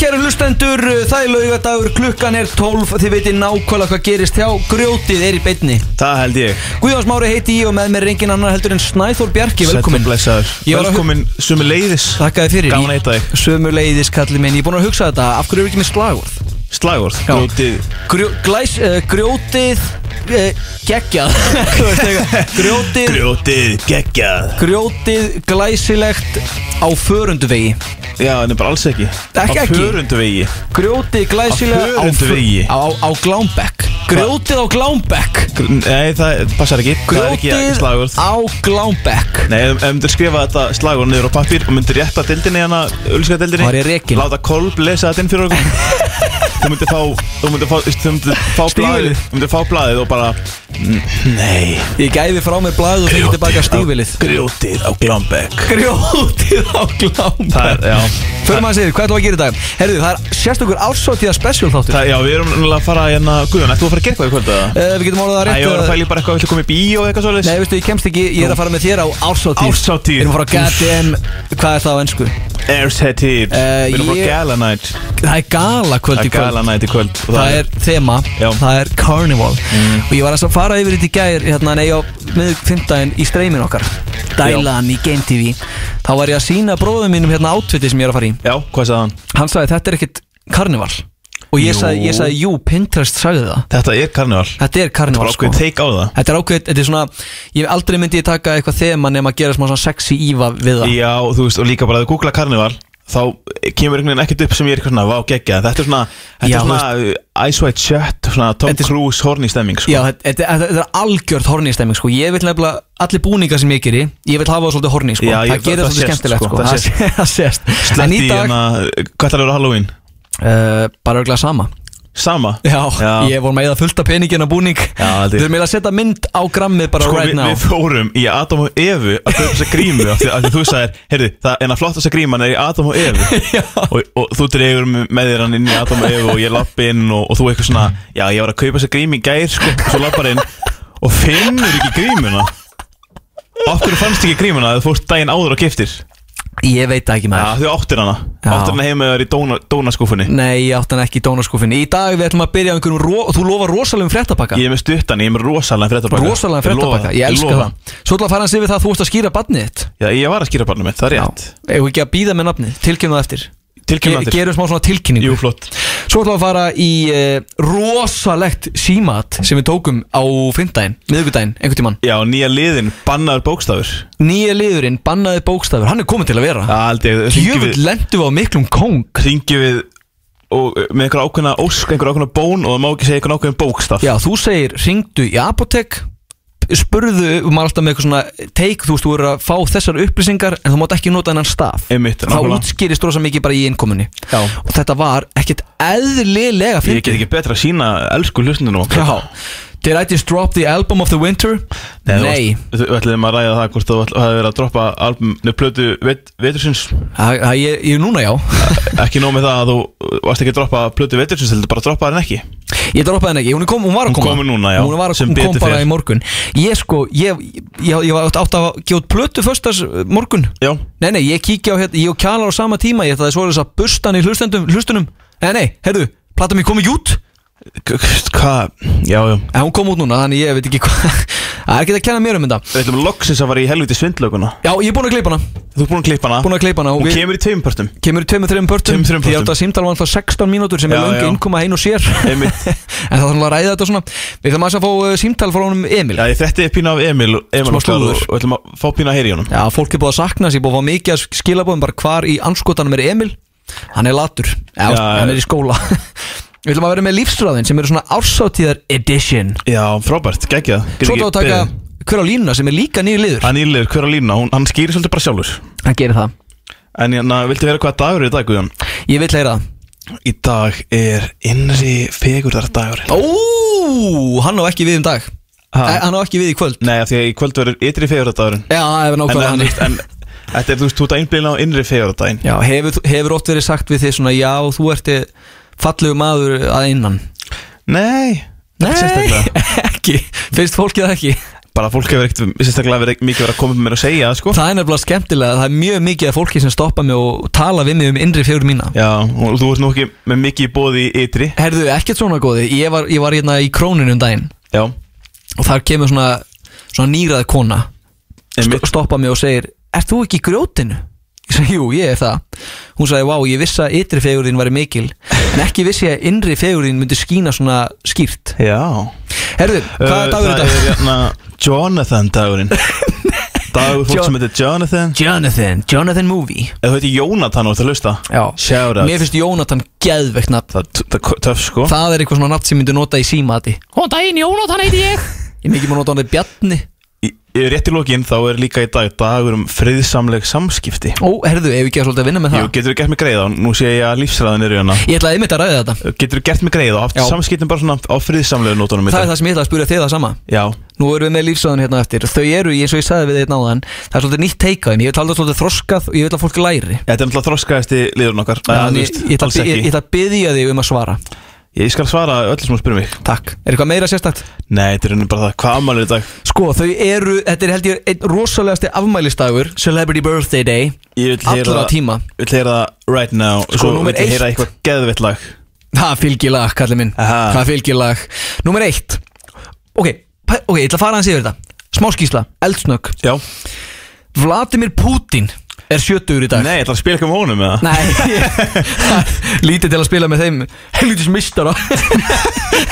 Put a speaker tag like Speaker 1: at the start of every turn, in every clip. Speaker 1: hlustendur, uh, það er laugadagur, klukkan er 12 Þið veitir nákvæmlega hvað gerist hjá Grjótið er í beinni
Speaker 2: Það held ég
Speaker 1: Guðjóns Mári heiti ég og með mér er engin annar heldur en Snæþór Bjarki
Speaker 2: Sæll og
Speaker 1: Velkomin
Speaker 2: blessaður.
Speaker 1: Ég var að-
Speaker 2: Velkomin sumi leiðis
Speaker 1: Þakka þið fyrir
Speaker 2: Gaman að hitta þig.
Speaker 1: Sömu leiðis kallið minn Ég er búin að hugsa þetta Af hverju er ekki með slagorð?
Speaker 2: Slagorð
Speaker 1: Já.
Speaker 2: Grjótið
Speaker 1: Grjó, glæs, uh, grjótið uh, geggjað Þú veist, eitthvað. Grjótið
Speaker 2: Grjótið geggjað
Speaker 1: Grjótið glæsilegt á förunduvegi
Speaker 2: Já, en er bara alls ekki
Speaker 1: Ekki,
Speaker 2: Á
Speaker 1: ekki.
Speaker 2: förundu vegi
Speaker 1: Grjótið glæsilegt
Speaker 2: Á förunduvegi.
Speaker 1: Á, á Glámbekk Grjótið á Glámbekk
Speaker 2: Gr- Nei, það passar ekki Það er ekki
Speaker 1: Grjótið
Speaker 2: slagorð
Speaker 1: á Glámbekk
Speaker 2: Nei, ef ef myndir skrifa þetta slagur niður á pappir og myndir rétta dildinni hana, ölska dildinni
Speaker 1: Var ég rekinn?
Speaker 2: Láta Kolb lesa þetta inn fyrir okkur Þú myndir fá, þú myndir fá, þú myndir fá blaðið
Speaker 1: Stígvélið.
Speaker 2: Þú myndir fá blaðið og bara "N- Nei
Speaker 1: Ég gæfi frá mér blaðið og fengi tilbaka stífilið
Speaker 2: Grjótið á Glambæk
Speaker 1: Grjótið á Glámbekk
Speaker 2: Það er, já
Speaker 1: Förum að segja, hvað ætlum við að gera í dag? Herðu, það er sérstakur ársóttíða special þáttur
Speaker 2: Það, já, við erum náttúrulega að fara hérna Guðjón, ættu að fara að gera eitthvað í kvöld eða?
Speaker 1: uh, Við getum orðað
Speaker 2: Æ,
Speaker 1: það rétt
Speaker 2: ég var að
Speaker 1: að-
Speaker 2: fæli bara eitthvað, villu koma í bíó eitthvað svoleiðis
Speaker 1: Nei, veistu, ég kemst ekki, ég er að fara með þér á ársóttíð
Speaker 2: Árshátíð.
Speaker 1: Við erum að fara á goddamn, hvað er það á ennsku?
Speaker 2: Airshead Heat
Speaker 1: Eh,
Speaker 2: Við erum bara
Speaker 1: ég-
Speaker 2: gala night
Speaker 1: Það er gala
Speaker 2: Það
Speaker 1: kvöld í
Speaker 2: er
Speaker 1: kvöld
Speaker 2: gala night í kvöld og
Speaker 1: Það er þema,
Speaker 2: Já.
Speaker 1: það er carnival Og ég var aðeins að fara yfir þetta í gær Hérna, nei, á miðugfymdæðin í streymin okkar Dælan í Game TV Þá var ég að sína bróðum mínum hérna átviti sem ég er að fara í
Speaker 2: Já, hvað sagði hann?
Speaker 1: Hann sagði, þetta er ekkit carnival Og ég
Speaker 2: Jú.
Speaker 1: sagði, ég sagði, jú, Pinterest sagði það
Speaker 2: Þetta er karnival
Speaker 1: Þetta er
Speaker 2: Það
Speaker 1: carnival
Speaker 2: var ákveðið take á það
Speaker 1: Þetta er ákveðið, þetta er svona Ég aldrei myndi ég taka eitthvað þema nema að gera smá svona sexy íva við það
Speaker 2: Já, og þú veist, og líka bara að þú googla karnival þá kemur einhvern veginn ekkert upp sem ég er eitthvað svona, vá, geggja þetta er svona, þetta
Speaker 1: Já,
Speaker 2: er svona uh, Ice White Shut, svona Tom
Speaker 1: Þetta er-
Speaker 2: Cruise horny stemming, sko
Speaker 1: Já, þetta, þetta, þetta, þetta er algjört horni stemming sko. Ég vil nefnilega, allir búningar sem ég geri Ég vil hafa það svolítið horni sko.
Speaker 2: Já, ég-
Speaker 1: Það gerir
Speaker 2: það
Speaker 1: það
Speaker 2: sést,
Speaker 1: svolítið skemmtilegt
Speaker 2: sko,
Speaker 1: sko.
Speaker 2: það
Speaker 1: Það
Speaker 2: sést.
Speaker 1: sé- það sést En
Speaker 2: Sletti
Speaker 1: í
Speaker 2: í hérna-
Speaker 1: dag,
Speaker 2: hana, hvað það eru á Halloween?
Speaker 1: uh, bara örglega sama
Speaker 2: Sama?
Speaker 1: Já, ég voru með að fullta peningin á búning
Speaker 2: Já, þetta er-
Speaker 1: Við erum eiginlega að setja mynd á grammið bara
Speaker 2: Sko,
Speaker 1: right
Speaker 2: við,
Speaker 1: now
Speaker 2: við fórum í Adam og Evu að kaupa þessa grímu af því, af því þú sagðir, heyrðu, það en að flottast að gríman er í Adam og Evu
Speaker 1: Já.
Speaker 2: og, og þú dregur m- með þér hann inn í Adam og Evu og ég lapp inn og, og þú eitthvað svona já, ég var að kaupa þessa grím í gær sko, og svo lappar inn og finnur ekki grímuna Okkur fannst ekki grímuna að þú fórst daginn áður og giftir
Speaker 1: Ég veit það ekki
Speaker 2: Já,
Speaker 1: maður
Speaker 2: þau áttir hana
Speaker 1: Já.
Speaker 2: Áttir hana heima þar í dóna, dónaskúfunni
Speaker 1: Nei, ég átti hann ekki í dónaskúfinni Í dag við ætlum að byrja á einhverjum ro Þú lofa rosalegum fréttapakka
Speaker 2: Ég er með stuttan, ég er með rosalega fréttabakka
Speaker 1: Rosalega fréttapakka, ég elska það Svo ætla að fara hans yfir það að þú ert að skýra badnið
Speaker 2: Já, ég var að skýra barnum mitt, það er rétt
Speaker 1: Eða ekki að býða með nafni, tilkynna það eftir
Speaker 2: Tilkynnum
Speaker 1: Ge-
Speaker 2: það til
Speaker 1: Gerum smá svona tilkynningu
Speaker 2: Jú, flott
Speaker 1: Svo ætlum við að fara í uh, rosalegt símat sem við tókum á fymdægin, miðugudægin, einhvern tímann
Speaker 2: Já, nýja liðin, bannaður bókstafur
Speaker 1: Nýja liðurinn, bannaði bókstafur, hann er kominn til að vera
Speaker 2: Það held ég Hringjum
Speaker 1: Jöfull
Speaker 2: við,
Speaker 1: lendu á miklum kóng
Speaker 2: hringjum við og, uh, með einhver ákveðna ósk, einhver ákveðna bón og það má ekki segja einhver ákveðin bókstaf
Speaker 1: Já, þú segir, ringdu í apotek spurðu, um alltaf með eitthvað svona teik, þú veist, þú eru að fá þessar upplýsingar en þú mátt ekki nota hennan staf
Speaker 2: Einmitt,
Speaker 1: þá
Speaker 2: nákvæmlega.
Speaker 1: útskýrist rosa mikið bara í innkomunni
Speaker 2: Já.
Speaker 1: og þetta var ekkert
Speaker 2: Ég
Speaker 1: eðlilega
Speaker 2: get
Speaker 1: fyndið
Speaker 2: ekki betra að sína elsku hlustundunum okkar
Speaker 1: Já, did I just drop the album of the winter?
Speaker 2: Nei, þú
Speaker 1: Nei,
Speaker 2: varst- Þú ætliðum að ræða það hvort þú ætl- hafði verið að droppa album Nei, plötu vet, vetursins
Speaker 1: það það- ég, ég núna já
Speaker 2: Ekki nóg með það að þú varst ekki að droppa plötu vetursins Þetta bara að droppa þarinn ekki
Speaker 1: Ég droppaði henni ekki, hún, er kom, hún var að
Speaker 2: Hún
Speaker 1: koma
Speaker 2: komin núna, já,
Speaker 1: Hún var að
Speaker 2: sem
Speaker 1: hún kom
Speaker 2: betur
Speaker 1: bara
Speaker 2: fer.
Speaker 1: í morgun Ég sko, ég, ég, ég var átt að gefa út plötu föstas morgun
Speaker 2: Já,
Speaker 1: Nei, nei, ég kíkja á hérna, ég og Kjalar á sama tíma Ég ætlaði svo þess að bustan í hlustendum, hlustunum Nei, nei, heyrðu, plata mér kom ekki út
Speaker 2: K- k- hvað, já, já
Speaker 1: En hún kom út núna, þannig ég veit ekki hvað Það er ekki að kenna mér um þetta
Speaker 2: Við ætlum loksins að fara í helviti svindlöguna
Speaker 1: Já, ég er búin að kleipa hana
Speaker 2: Þú ert búin að klippa hana
Speaker 1: Búin að klippa hana og
Speaker 2: Hún
Speaker 1: við-
Speaker 2: kemur í tveim pörtum
Speaker 1: Kemur í tveimur, þreimur pörtum
Speaker 2: Tveimur, þremur
Speaker 1: Því að
Speaker 2: pörtum.
Speaker 1: þetta símtal var alltaf 16 mínútur sem er
Speaker 2: Já,
Speaker 1: löngu
Speaker 2: já.
Speaker 1: innkoma ein og sér
Speaker 2: Einmitt.
Speaker 1: En það þarf að ræða þetta svona Við þurfum aðeins að fá uh, símtal frá honum Emil
Speaker 2: Já, ég þetta er pína af Emil, Emil
Speaker 1: Smá
Speaker 2: okkar og,
Speaker 1: slúður.
Speaker 2: og ætlum að fá pína að heyra í honum
Speaker 1: Já, fólk er búið að sakna sér, búið að fá mikið að skilabóðum bara hvar í anskotanum er Emil Hann er latur, Já,
Speaker 2: Já,
Speaker 1: hann er í skóla Við ætlum að vera með lífsræðin sem eru svona ársátíðar edition
Speaker 2: Já, frábært, geggjað Get
Speaker 1: Svo
Speaker 2: ekki
Speaker 1: þá að taka
Speaker 2: beðið. um-
Speaker 1: hver á línuna sem er líka nýri liður
Speaker 2: Hann ílir, hver að lína, hún, hann skýrir svolítið bara sjálfur
Speaker 1: Hann gerir það
Speaker 2: En hérna, viltu vera hvað dagur er í dag, Guðjón?
Speaker 1: Ég vil heyra það
Speaker 2: Í dag er innri fegurðardagur
Speaker 1: Ó, hann á ekki við um dag
Speaker 2: Ha?
Speaker 1: ha? Hann á ekki við í kvöld
Speaker 2: Nei, af því að í kvöld verður ytri fegurðardagurinn
Speaker 1: Já, það er
Speaker 2: En, en,
Speaker 1: nákvæmlega hann
Speaker 2: en, en þetta er, þú veist, þú ert að einblýna á innri fegurðardaginn
Speaker 1: Já, hefur, hefur oft verið sagt við þig svona Já, þú ert fallegu maður að innan
Speaker 2: Nei,
Speaker 1: Nei,
Speaker 2: sérstaklega
Speaker 1: ekki, finnst fólki það ekki
Speaker 2: bara fólk hefur ekkert sérstaklega verið mikið verið að koma með mér og segja það sko
Speaker 1: Það er nefnilega skemmtilega, það er mjög mikið af fólki sem stoppa mig og tala við mig um innri fjögur mína
Speaker 2: Já, og þú ert nú ekki með mikið í bóði í ytri
Speaker 1: Herðu, ekkert svona góði, ég var, ég var hérna í króninu um daginn
Speaker 2: Já,
Speaker 1: og þar kemur svona, svona nýrað kona st
Speaker 2: einmitt
Speaker 1: stoppa mig og segir, ert þú ekki í grjótinu? Ég segi, jú, ég er það Hún sagði, vá, ég vissi að ytri fegurinn væri mikil en ekki vissi ég að innri fegurinn myndi skína svona skýrt
Speaker 2: Já
Speaker 1: Herðu, hvaða
Speaker 2: Uh,
Speaker 1: dagur
Speaker 2: Það
Speaker 1: er
Speaker 2: er
Speaker 1: þetta?
Speaker 2: hérna Jonathan dagurinn Dagur fólk
Speaker 1: Jo-
Speaker 2: sem heitir Jonathan
Speaker 1: Jonathan, Jonathan Movie
Speaker 2: Ef Eh, þú heitir Jónatan og þú ert að hlusta
Speaker 1: Já,
Speaker 2: Shout out
Speaker 1: mér finnst Jónatan geðveikt nafn
Speaker 2: Það það er töff sko
Speaker 1: Það er eitthvað svona nafn sem myndi nota í símati Góðan daginn, Jónatan heiti ég Ég mikið má nota hann í Bjarni
Speaker 2: Í- í- Rétt í lokin þá er líka í dag dagur um friðsamleg samskipti
Speaker 1: Ó, herðu, ef ekki að svolítið að vinna með það
Speaker 2: Jú, getur þú gert mig greið á, nú sé ég að lífsræðan er í hana
Speaker 1: Ég ætlaði einmitt að ræða þetta
Speaker 2: Getur þú gert mig greið á, haft
Speaker 1: Já.
Speaker 2: samskiptin bara svona á friðsamlegu nótunum í
Speaker 1: Það er
Speaker 2: dag?
Speaker 1: það sem ég ætlaði að spyrja þig það sama
Speaker 2: Já,
Speaker 1: Nú erum við með lífsöðun hérna eftir Þau eru, eins og ég sagði við þið náðan Það er svolítið nýtt teika þeim Ég vil tala svolítið þroskað og ég vil að fólk læri
Speaker 2: þetta er náttúrulega þroskaðasti liðurinn okkar Nei, þú
Speaker 1: Þannig
Speaker 2: veist,
Speaker 1: ég, ætla
Speaker 2: alls
Speaker 1: að- ég, ég
Speaker 2: ekki.
Speaker 1: ætla að byðja þig um að svara
Speaker 2: Ég skal svara öllu sem þú spyrir mig
Speaker 1: Takk Er eitthvað meira sérstakt?
Speaker 2: Nei, þetta er raunin bara það, hvað ammálið í dag?
Speaker 1: Sko, þau eru, þetta er held ég einn rosalegasti afmælistagur Celebrity Birthday Day
Speaker 2: Ég vil heyra
Speaker 1: Allra
Speaker 2: það-
Speaker 1: tíma
Speaker 2: Ég vil heyra það right now
Speaker 1: Sko,
Speaker 2: Svo
Speaker 1: númer
Speaker 2: vil ég heyra
Speaker 1: eitt.
Speaker 2: eitthvað geðvitt lag
Speaker 1: Það fylgir lag, kallið minn
Speaker 2: Aha.
Speaker 1: Það fylgir lag Númer eitt Ok, pæ- ok, ég ætla að fara hans yfir þetta Smáskísla, eldsnögg
Speaker 2: Já
Speaker 1: Vladimir Putin er sjötugur í dag
Speaker 2: Nei, ég ætla að spila eitthvað með honum eða?
Speaker 1: Nei Lítið til að spila með þeim Helvitis mistara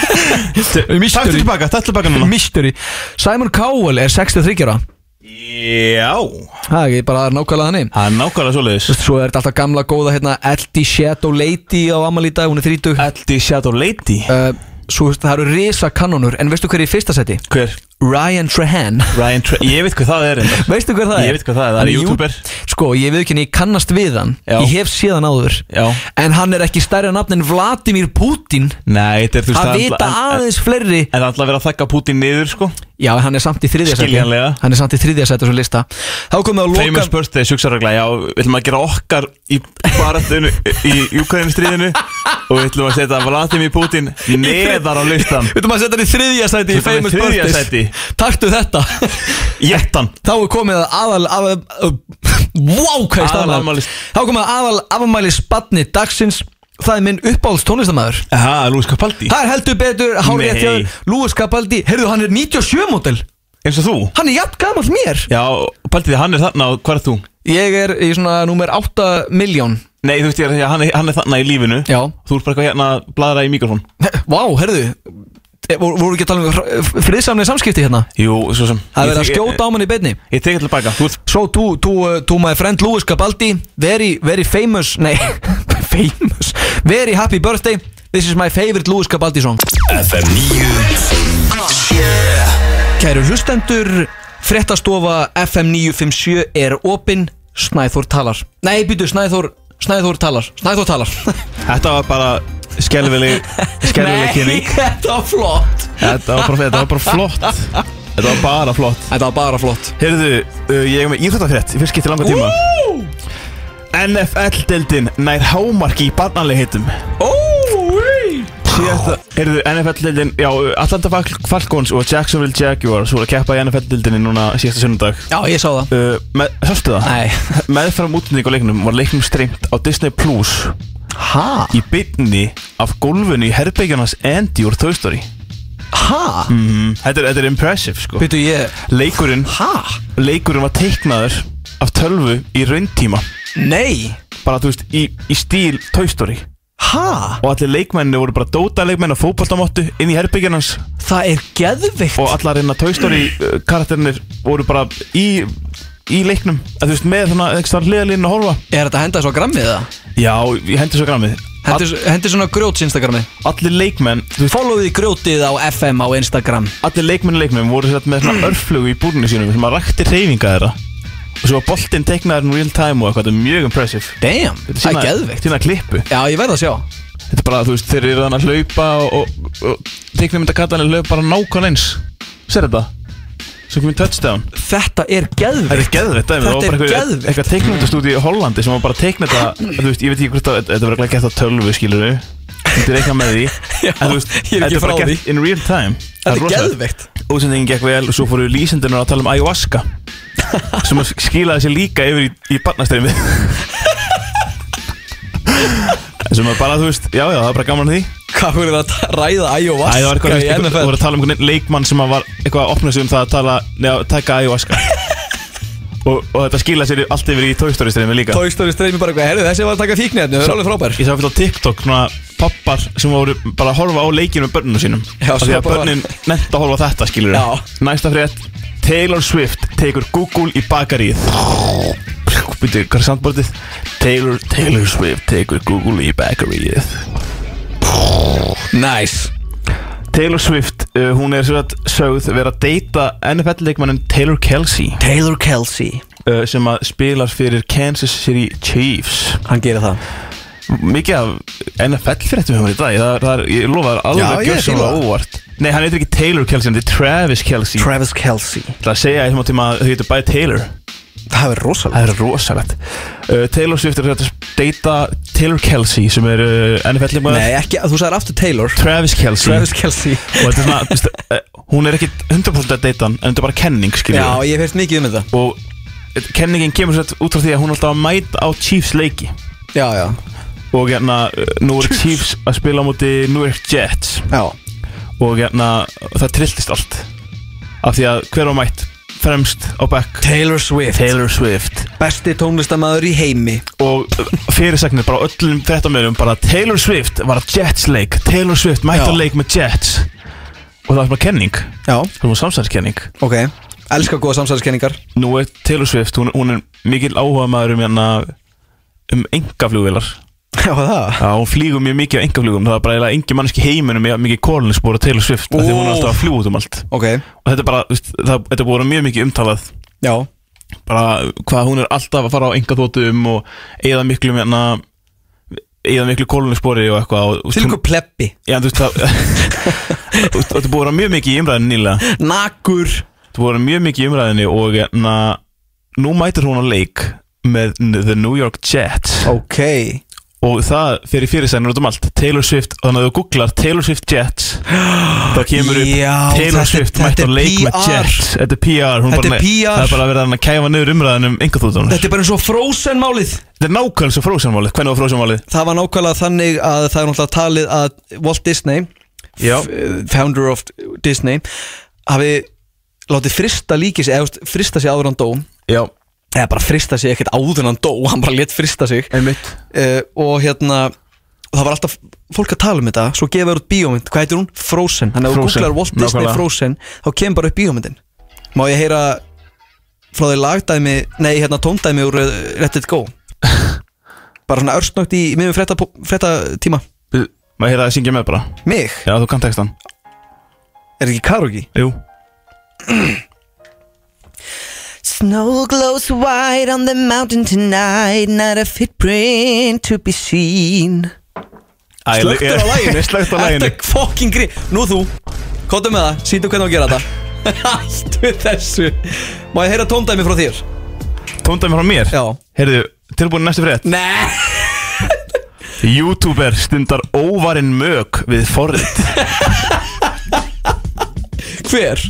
Speaker 2: Takk
Speaker 1: Mistari
Speaker 2: tilbaka, takk tilbaka núna
Speaker 1: Mistari Simon Cowell er 63 ára
Speaker 2: Já
Speaker 1: Það er ekki bara nákvæmlega þannig
Speaker 2: Það er nákvæmlega svoleiðis
Speaker 1: Svo er þetta alltaf gamla góða hérna Eldi Shadow Lady á Amalí dag Hún er 30 uh,
Speaker 2: Eldi Shadow Lady
Speaker 1: Svo veist, það eru risa kanonur En veistu hver er í fyrsta seti?
Speaker 2: Hver?
Speaker 1: Ryan Trahan
Speaker 2: Ryan Tra Ég veit hvað það er reyndar.
Speaker 1: Veistu hver það er?
Speaker 2: Ég veit hvað það er, það er
Speaker 1: Hann jú-
Speaker 2: YouTuber.
Speaker 1: Sko, ég veit ekki en ég kannast við hann
Speaker 2: Já.
Speaker 1: Ég hef séð hann áður
Speaker 2: Já.
Speaker 1: En hann er ekki stærri nafn en Vladimir Putin
Speaker 2: Nei, þetta er þú veist
Speaker 1: Að
Speaker 2: það er
Speaker 1: vita
Speaker 2: alltaf- en-
Speaker 1: aðeins fleiri
Speaker 2: En það ætla að vera að þakka Putin niður sko
Speaker 1: Já, en hann er samt í þriðja sæti
Speaker 2: Skiljanlega.
Speaker 1: Hann er samt í þriðja sæti á þessum lista Þá komum við að
Speaker 2: Famous
Speaker 1: loka
Speaker 2: birthday, suksarregla, já, við ætlum að gera okkar í barðinu, í Ukraínustriðinu og við ætlum að setja Vladimir Putin neðar á listan
Speaker 1: Við ætlum að setja hann í þriðja sæti í
Speaker 2: Setja hann í
Speaker 1: Famous
Speaker 2: þriðja
Speaker 1: Birthdays
Speaker 2: sæti.
Speaker 1: Taktu þetta
Speaker 2: Jettan
Speaker 1: Þá er komið að aðal, aðal Wow, hvað ég
Speaker 2: Aðal
Speaker 1: stafnaði
Speaker 2: afmælis-
Speaker 1: Þá komið að aðal afmæli spatni dagsins Það er minn uppáhalds tónlistamæður
Speaker 2: Aha, Lúis Kapaldi
Speaker 1: Það er heldur betur, hárið
Speaker 2: Nei.
Speaker 1: eftir Lúis Capaldi, heyrðu hann er 97 mótel
Speaker 2: Eins og þú
Speaker 1: Hann er jafn gamall mér
Speaker 2: Já, Paldi, hann er þarna og hvað er þú?
Speaker 1: Ég er í svona númer 8 miljón
Speaker 2: Nei, þú veist ég er að segja, hann er, hann er þarna í lífinu
Speaker 1: Já
Speaker 2: Þú ert bara eitthvað hérna að bladra í mikrofón
Speaker 1: Vá, heyrðu Eh, voru voru ekki að tala um hr- friðsamlega samskipti hérna
Speaker 2: Jú, svo sem
Speaker 1: Það er verið
Speaker 2: Ég-
Speaker 1: að skjóta á mann í beinni
Speaker 2: Ég, ég tek allir baka, þú ert
Speaker 1: So to, to, uh, to my friend Louis Cabaldi Very, very famous Nei, famous Very happy birthday This is my favorite Louis Cabaldi song
Speaker 3: FM 957
Speaker 1: Kæru hlustendur Frettastofa FM 957 er opin Snæþór talar Nei, býtu, Snæþór Snæþór talar Snæþór talar
Speaker 2: Þetta var bara skelvileg, skelvileg
Speaker 1: Nei,
Speaker 2: kynning
Speaker 1: þetta var flott
Speaker 2: Þetta var bara, þetta var bara flott Þetta var bara flott
Speaker 1: Þetta var bara flott
Speaker 2: Heyrðu, uh, ég er með íþróttafrétt í fyrst skipti í langa tíma NFL-deldin nær hámarki í barnanlegheitum
Speaker 1: Ói
Speaker 2: Síðasta, heyrðu, NFL-deldin, já, Atlanta Fal- Falcons og Jacksonville Jaguars voru að keppa í NFL-deldinni núna síðasta sunnudag
Speaker 1: Já, ég sá það
Speaker 2: uh, með, Sástu það?
Speaker 1: Nei
Speaker 2: Meðfram útlending á leiknum var leiknum streymt á Disney Plus
Speaker 1: Ha?
Speaker 2: í byrni af gólfinu í herbyggjarnas Andy úr Toy Story
Speaker 1: Ha?
Speaker 2: mm. þetta, er, þetta er impressive, sko
Speaker 1: Býtu, ég
Speaker 2: Leikurinn,
Speaker 1: Ha?
Speaker 2: leikurinn var teiknaður af tölvu í rauntíma
Speaker 1: Nei
Speaker 2: bara, þú veist, í, í stíl Toy Story
Speaker 1: Ha?
Speaker 2: og allir leikmenni voru bara dóta leikmenn og fótballtamáttu inn í herbyggjan hans
Speaker 1: Það er geðvikt
Speaker 2: og allar hérna Toy Story uh, karakterinir voru bara í, í leiknum að, þú veist, með svona ekstra hliðalínu að horfa
Speaker 1: Er þetta að henda þessu á grammið það?
Speaker 2: já, ég hendi svo grammið
Speaker 1: Hendi, hendi svona grjóts Instagramið
Speaker 2: allir leikmenn, þú veist,
Speaker 1: Followði grjótið á FM á Instagram
Speaker 2: allir leikmenn í leiknum voru satt, með svona örflugu í búrinu sínum sem að rakti reyfinga þeirra og svo var boltinn teiknaður in real time og eitthvað, þetta er mjög impressive
Speaker 1: Damn, það er geðvikt
Speaker 2: Sýna klippu
Speaker 1: Já, ég verð að sjá
Speaker 2: Þetta er bara, þú veist, þeir eru þannig að hlaupa og, og, og teiknumyndakatalinn hlaupa bara nákvæmlega eins Sér þetta? Svo komið touchdown
Speaker 1: Þetta er
Speaker 2: Þetta er
Speaker 1: geðvikt
Speaker 2: geðveitt dæmi, það
Speaker 1: Þetta
Speaker 2: var bara
Speaker 1: er
Speaker 2: einhver-
Speaker 1: geðveikt.
Speaker 2: eitthvað teiknumyndastúdíu í Hollandi sem var bara að teikna þetta Þú veist, ég veit ekki hvort það, þetta var ekki gett á tölvu, skilur við Þetta er eitthvað með því
Speaker 1: Já,
Speaker 2: En þú veist,
Speaker 1: ég er ekki
Speaker 2: þetta er bara
Speaker 1: frá því.
Speaker 2: gert in real time
Speaker 1: Þetta
Speaker 2: er
Speaker 4: Þetta er
Speaker 2: rosalegt.
Speaker 4: geðveikt
Speaker 2: Útsendingin gekk vel og svo fóru lýsendurnar að tala um ayahuasca sem að skilaði sér líka yfir í, í barnastreymi sem að bara, þú veist, já, já, það er bara gaman að því
Speaker 4: Hvað voru það að ræða
Speaker 2: Æ,
Speaker 4: Æjóvask
Speaker 2: það var eitthvað,
Speaker 4: í
Speaker 2: eitthvað,
Speaker 4: NFL
Speaker 2: voru að tala um einhvern leikmann sem að var eitthvað að opna sig um það að tala, neða, taka ayahuasca og, og þetta skilaði sér allt yfir í tókstóristreymi líka
Speaker 4: Toy Story streymi bara eitthvað Herru, þessi var að taka
Speaker 1: hérna,
Speaker 4: fíknefni, það er alveg frábær
Speaker 2: Ég sá fyrir á TikTok svona pappar sem voru bara að horfa á leikinu með börnunum sínum
Speaker 4: Já,
Speaker 2: Af Því
Speaker 4: svo
Speaker 2: að
Speaker 4: bara-
Speaker 2: börnin nefnt að horfa á þetta skilur
Speaker 4: Já.
Speaker 2: Næsta frétt Taylor Swift tekur Google í bakaríð Býtu, hvað er sandbordið? Taylor, Taylor Swift tekur Google í bakaríð
Speaker 4: Nice
Speaker 2: Taylor Swift, uh, hún er svo að sögð vera að deyta NFL-leikmannin Taylor Kelsey
Speaker 1: Taylor Kelsey
Speaker 2: uh, sem að spilar fyrir Kansas City Chiefs
Speaker 1: Hann gerir það
Speaker 2: Mm. mikið af NFL-fréttum hefur um í dag það, er- það er, ég lofa það
Speaker 4: Já,
Speaker 2: er alveg
Speaker 4: ég
Speaker 2: gjörsamlega
Speaker 4: fíla það.
Speaker 2: óvart Nei, hann heitir ekki Taylor Kelsey, hann heitir Travis Kelsey Tra
Speaker 1: Travis Kelsey
Speaker 2: Það að segja eitthvað tíma að þau heitir bæði Taylor
Speaker 1: Það er rosalega
Speaker 2: Það er rosalegt uh, Taylor Swift er að deyta Taylor Kelsey sem er uh, NFL-leikmaður
Speaker 1: Nei, ekki, þú sagðir aftur Taylor
Speaker 2: Travis Kelsey
Speaker 1: Travis Kelsey
Speaker 2: og þetta er svona, þú veist, uh, hún er ekki 100% að deyta hann en þetta er bara kenning, skiljum
Speaker 1: Já, ég hef hérst mikið um þetta
Speaker 2: og eh, kenningin kemur sér út frá því að hún er alltaf að mæta á Chiefs leiki
Speaker 1: Já, já,
Speaker 2: og hérna, eh, nú er Chiefs að spila á móti New York Jets
Speaker 1: já
Speaker 2: og hérna, það trilltist allt af því að hver var mætt fremst á bekk
Speaker 1: Taylor Swift
Speaker 2: Taylor Swift
Speaker 1: Besti tónlistamæður í heimi
Speaker 2: og fyrirsagnir bara á öllum fréttamöðum bara Taylor Swift var að Jets leik Taylor Swift mætt á
Speaker 1: Já.
Speaker 2: leik með Jets og það var bara kenning það
Speaker 1: Já,
Speaker 2: var samsæðiskenning
Speaker 1: ok Elskar góða samsæðiskenningar
Speaker 2: nú er Taylor Swift, hún, hún er mikil áhuga maður um hérna um engaflugvilar
Speaker 1: Já, það
Speaker 2: Já, hún flýgur mjög mikið á engaflugum það er bara eiginlega engin mannski heiminum mjög mikið kólunisbúr á Taylor Swift af því að hún er alltaf að fljúa út um allt
Speaker 1: Ok,
Speaker 2: og þetta er bara, þú veist, það, þetta er búin að vera mjög mikið umtalað
Speaker 1: já
Speaker 2: bara hvað hún er alltaf að fara á enga þótum og eigða miklu hérna eigða miklu kólunispori og eitthvað og,
Speaker 1: Til ykkur pleppi
Speaker 2: Já, þú veist það og og þetta búið að vera mjög mikið í umræðinu nýlega
Speaker 1: Nakur
Speaker 2: þetta búið að vera mjög mikið í umræðinu og na, nú mætir hún á leik með n- The New York Jets
Speaker 1: Ok
Speaker 2: og það fyrir fyrirsænir út um allt Taylor Swift, þannig að þú googlar Taylor Swift Jets þá kemur upp
Speaker 1: Já, þetta
Speaker 2: Taylor
Speaker 1: er-
Speaker 2: Swift
Speaker 1: þetta
Speaker 2: mætt á
Speaker 1: er
Speaker 2: leik með
Speaker 1: PR.
Speaker 2: Jets Þetta er PR, hún
Speaker 1: Þetta
Speaker 2: bara,
Speaker 1: er PR.
Speaker 2: það er bara að vera að kæfa niður umræðinu um enga þótunar
Speaker 1: Þetta er bara eins og Frozen málið
Speaker 2: Þetta er nákvæmlega svo frósanmálið, hvernig var frósanmálið?
Speaker 1: Það var nákvæmlega þannig að það er náttúrulega talið að Walt Disney
Speaker 2: Já.
Speaker 1: f- Founder of Disney hafi látið frista líki sig eða þú veist, frista sig áður en hann dó
Speaker 2: Já,
Speaker 1: eða bara frista sig ekkert áður en hann dó hann bara let frista sig
Speaker 2: einmitt
Speaker 1: uh, og hérna það var alltaf fólk að tala um þetta svo gefa þér út bíómynd, hvað heitir hún? Frozen þannig að þú
Speaker 2: Frozen,
Speaker 1: googlar Walt Disney
Speaker 2: nákvæmlega.
Speaker 1: Frozen þá kemur bara upp bíómyndin má ég heyra frá því lagdæmi nei, hérna tóndæmi úr uh, Let It Go bara svona örstnögt í miðum frétta, frétta tíma
Speaker 2: Maður heyrði að syngja með bara
Speaker 1: mig,
Speaker 2: Já, þú kann textan
Speaker 1: er ekki karaoke?
Speaker 2: Jú
Speaker 5: Snow glows white on the mountain tonight, not a footprint to be seen.
Speaker 1: Slökktur á læginu
Speaker 2: Slögt á læginu
Speaker 1: Þetta fokkin grí Nú þú, kóta með það, sýndu hvernig á að gera þetta Hættu þessu Má ég heyra tóndæmi frá þér?
Speaker 2: Tóndæmi frá mér
Speaker 1: Já
Speaker 2: Heyrðu, tilbúin í næstu frétt
Speaker 1: Nei
Speaker 2: Youtuber stundar óvarinn mög við forrið
Speaker 1: Hver?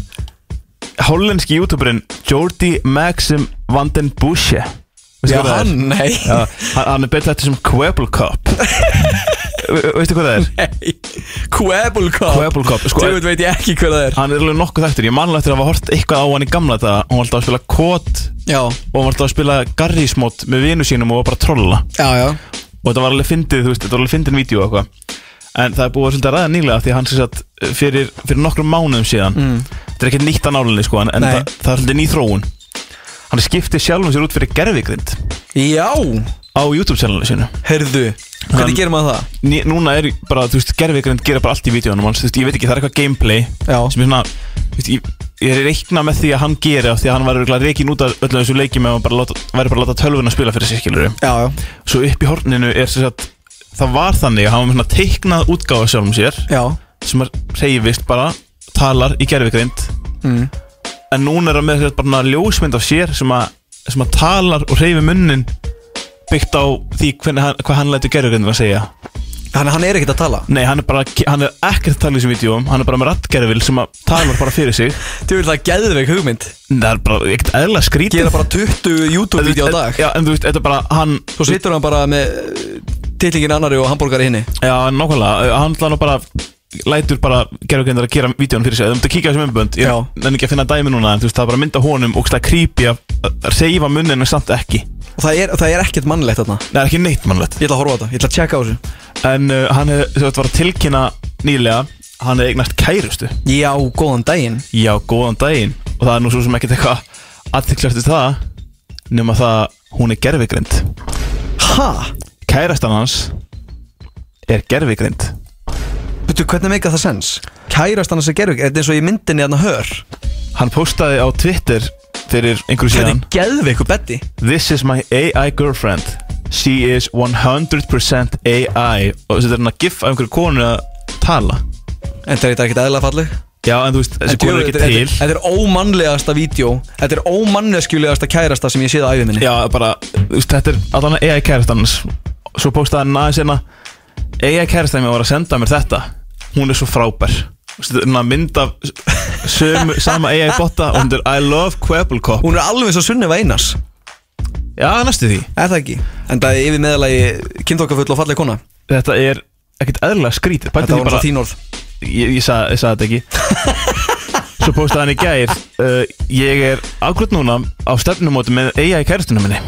Speaker 2: Hollenski youtuberinn Jordi Maxim van den Busche Veistu
Speaker 1: Já,
Speaker 2: hvað það er?
Speaker 1: hann, nei
Speaker 2: Já, hann- hann er betur þetta sem Quebble Cup Ve- Veistu hvað það er?
Speaker 1: Nei Quebble Cup
Speaker 2: Quebble Cup, sko-
Speaker 1: Djöfull veit ég ekki hver það er
Speaker 2: Hann er alveg nokkuð þekktur Ég manlega eftir að hafa hort eitthvað á hann í gamla þetta Hún var alltaf að spila kót
Speaker 1: Já,
Speaker 2: og hann var alltaf að spila garrísmót með vinu sínum og var bara að trolla
Speaker 1: já, já
Speaker 2: og þetta var alveg fyndið, þú veist, þetta var alveg fyndin vídeo og eitthvað en það er búið að svolítið að ræða nýlega því að hann sem sagt fyrir, fyrir nokkrum mánuðum síðan þetta er ekkert nýtt að nálinni sko en en
Speaker 1: Nei.
Speaker 2: það, það er svolítið ný þróun hann skipti sjálfum sér út fyrir gerðvigrind
Speaker 1: Já,
Speaker 2: á YouTube-channelinu sinu
Speaker 1: heyrðu
Speaker 2: Hann-
Speaker 1: Hvernig gerum maður það?
Speaker 2: Ný, núna er bara, þú veist, gerðvigrind gera bara allt í vídeoanum hans, þú veist, ég veit ekki, það er eitthvað gameplay
Speaker 1: Já.
Speaker 2: sem er svona, þú veist, ég, ég er reikna með því að hann gera því að hann var örugglega reikinn út af öllum þessu leikjum ef hann bara láta, væri bara að láta tölvuna spila fyrir sér skilur
Speaker 1: Já, já,
Speaker 2: svo upp í horninu er sem sagt það var þannig að hann var með svona teiknað útgáfa af sjálfum sér
Speaker 1: já
Speaker 2: sem að reyfist bara talar í gerfigrind
Speaker 1: Mm.
Speaker 2: en núna er hann með sem sagt bara svona ljósmynd af sér sem að, sem að talar og reyfi munnin byggt á því hvernig hann, hvað hann lætur gerfigrindin að segja
Speaker 1: Þannig að hann er ekkert að tala
Speaker 2: Nei, hann er bara, hann er ekkert að tala í þessum vídjóum Hann er bara með rattgerfil sem að talar bara fyrir sig
Speaker 1: Þú vil það geðveik hugmynd
Speaker 2: Það er bara ekkert eðla skrítið
Speaker 1: Gera bara 20 YouTube-vídeó á dag
Speaker 2: Já, en þú veist, þetta er bara, hann
Speaker 1: Svo situr hann bara með eh, titlingin annari og hambúrgari hinni
Speaker 2: Já, nákvæmlega, hann ætla nú bara lætur bara gerðugindar að gera vídjón fyrir sig eða þú myndir kíkja á þessu umbönd, ég
Speaker 1: Já.
Speaker 2: nenni ekki að finna dæmi núna en þú veist, það er bara mynda honum og það creepy að að reyfa munninu samt ekki
Speaker 1: Og það er, það er ekkert mannlegt þarna
Speaker 2: það er ekki neitt mannlegt
Speaker 1: Ég ætla að horfa á þetta, ég ætla að tjekka á þessu
Speaker 2: en uh, hann hefði, þú veist, var að tilkynna nýlega hann hefði eignast kærustu
Speaker 1: Já, góðan daginn
Speaker 2: já, góðan daginn og það er nú svo sem ekkert eitthvað aðtilklast það nema það að hún er gerfigrind
Speaker 1: Ha?
Speaker 2: kærastan hans er gerfigrind
Speaker 1: Veitu, hvernig meika það sens? Kærast hann að segja geðveik, þetta er eins og ég myndinni hann að hör
Speaker 2: hann postaði á Twitter fyrir einhverju
Speaker 1: Þetta
Speaker 2: síðan
Speaker 1: er geðveik og betti
Speaker 2: This is my AI girlfriend She is 100% AI Og þetta er hann að gif af einhverju konu að tala
Speaker 1: En þetta er ekkert eðla falleg
Speaker 2: Já, en þú veist, þessi
Speaker 1: En
Speaker 2: konu er
Speaker 1: djöfull,
Speaker 2: ekki
Speaker 1: þetta-
Speaker 2: til
Speaker 1: Þetta þetta er ómannlegasta vídeo Þetta er ómanneskjulegasta kærasta sem ég séð á æfið minni
Speaker 2: Já, bara, þú veist, þetta er allan að AI kærastan hans Svo postaði hann aðeins hérna AI kærastan mér var að senda mér þetta Hún er svo frábær Þú veist, Þetta er hann að mynda sömu, Sama AI botta og hún er I love Quabblecop
Speaker 1: Hún er alveg svo sunnið veinas
Speaker 2: Já, næstu því
Speaker 1: Er það ekki? En það er yfir meðalagi kynþokkafull og falleg kona
Speaker 2: Þetta er ekkert eðlilega skrítið Pældu
Speaker 1: Þetta
Speaker 2: því
Speaker 1: voru
Speaker 2: bara-
Speaker 1: bara þín orð
Speaker 2: ég, ég, sa, ég saði þetta ekki Svo postaði hann í gær uh, Ég er ákvöld núna á stefnumóti með eiga í kærastunum minni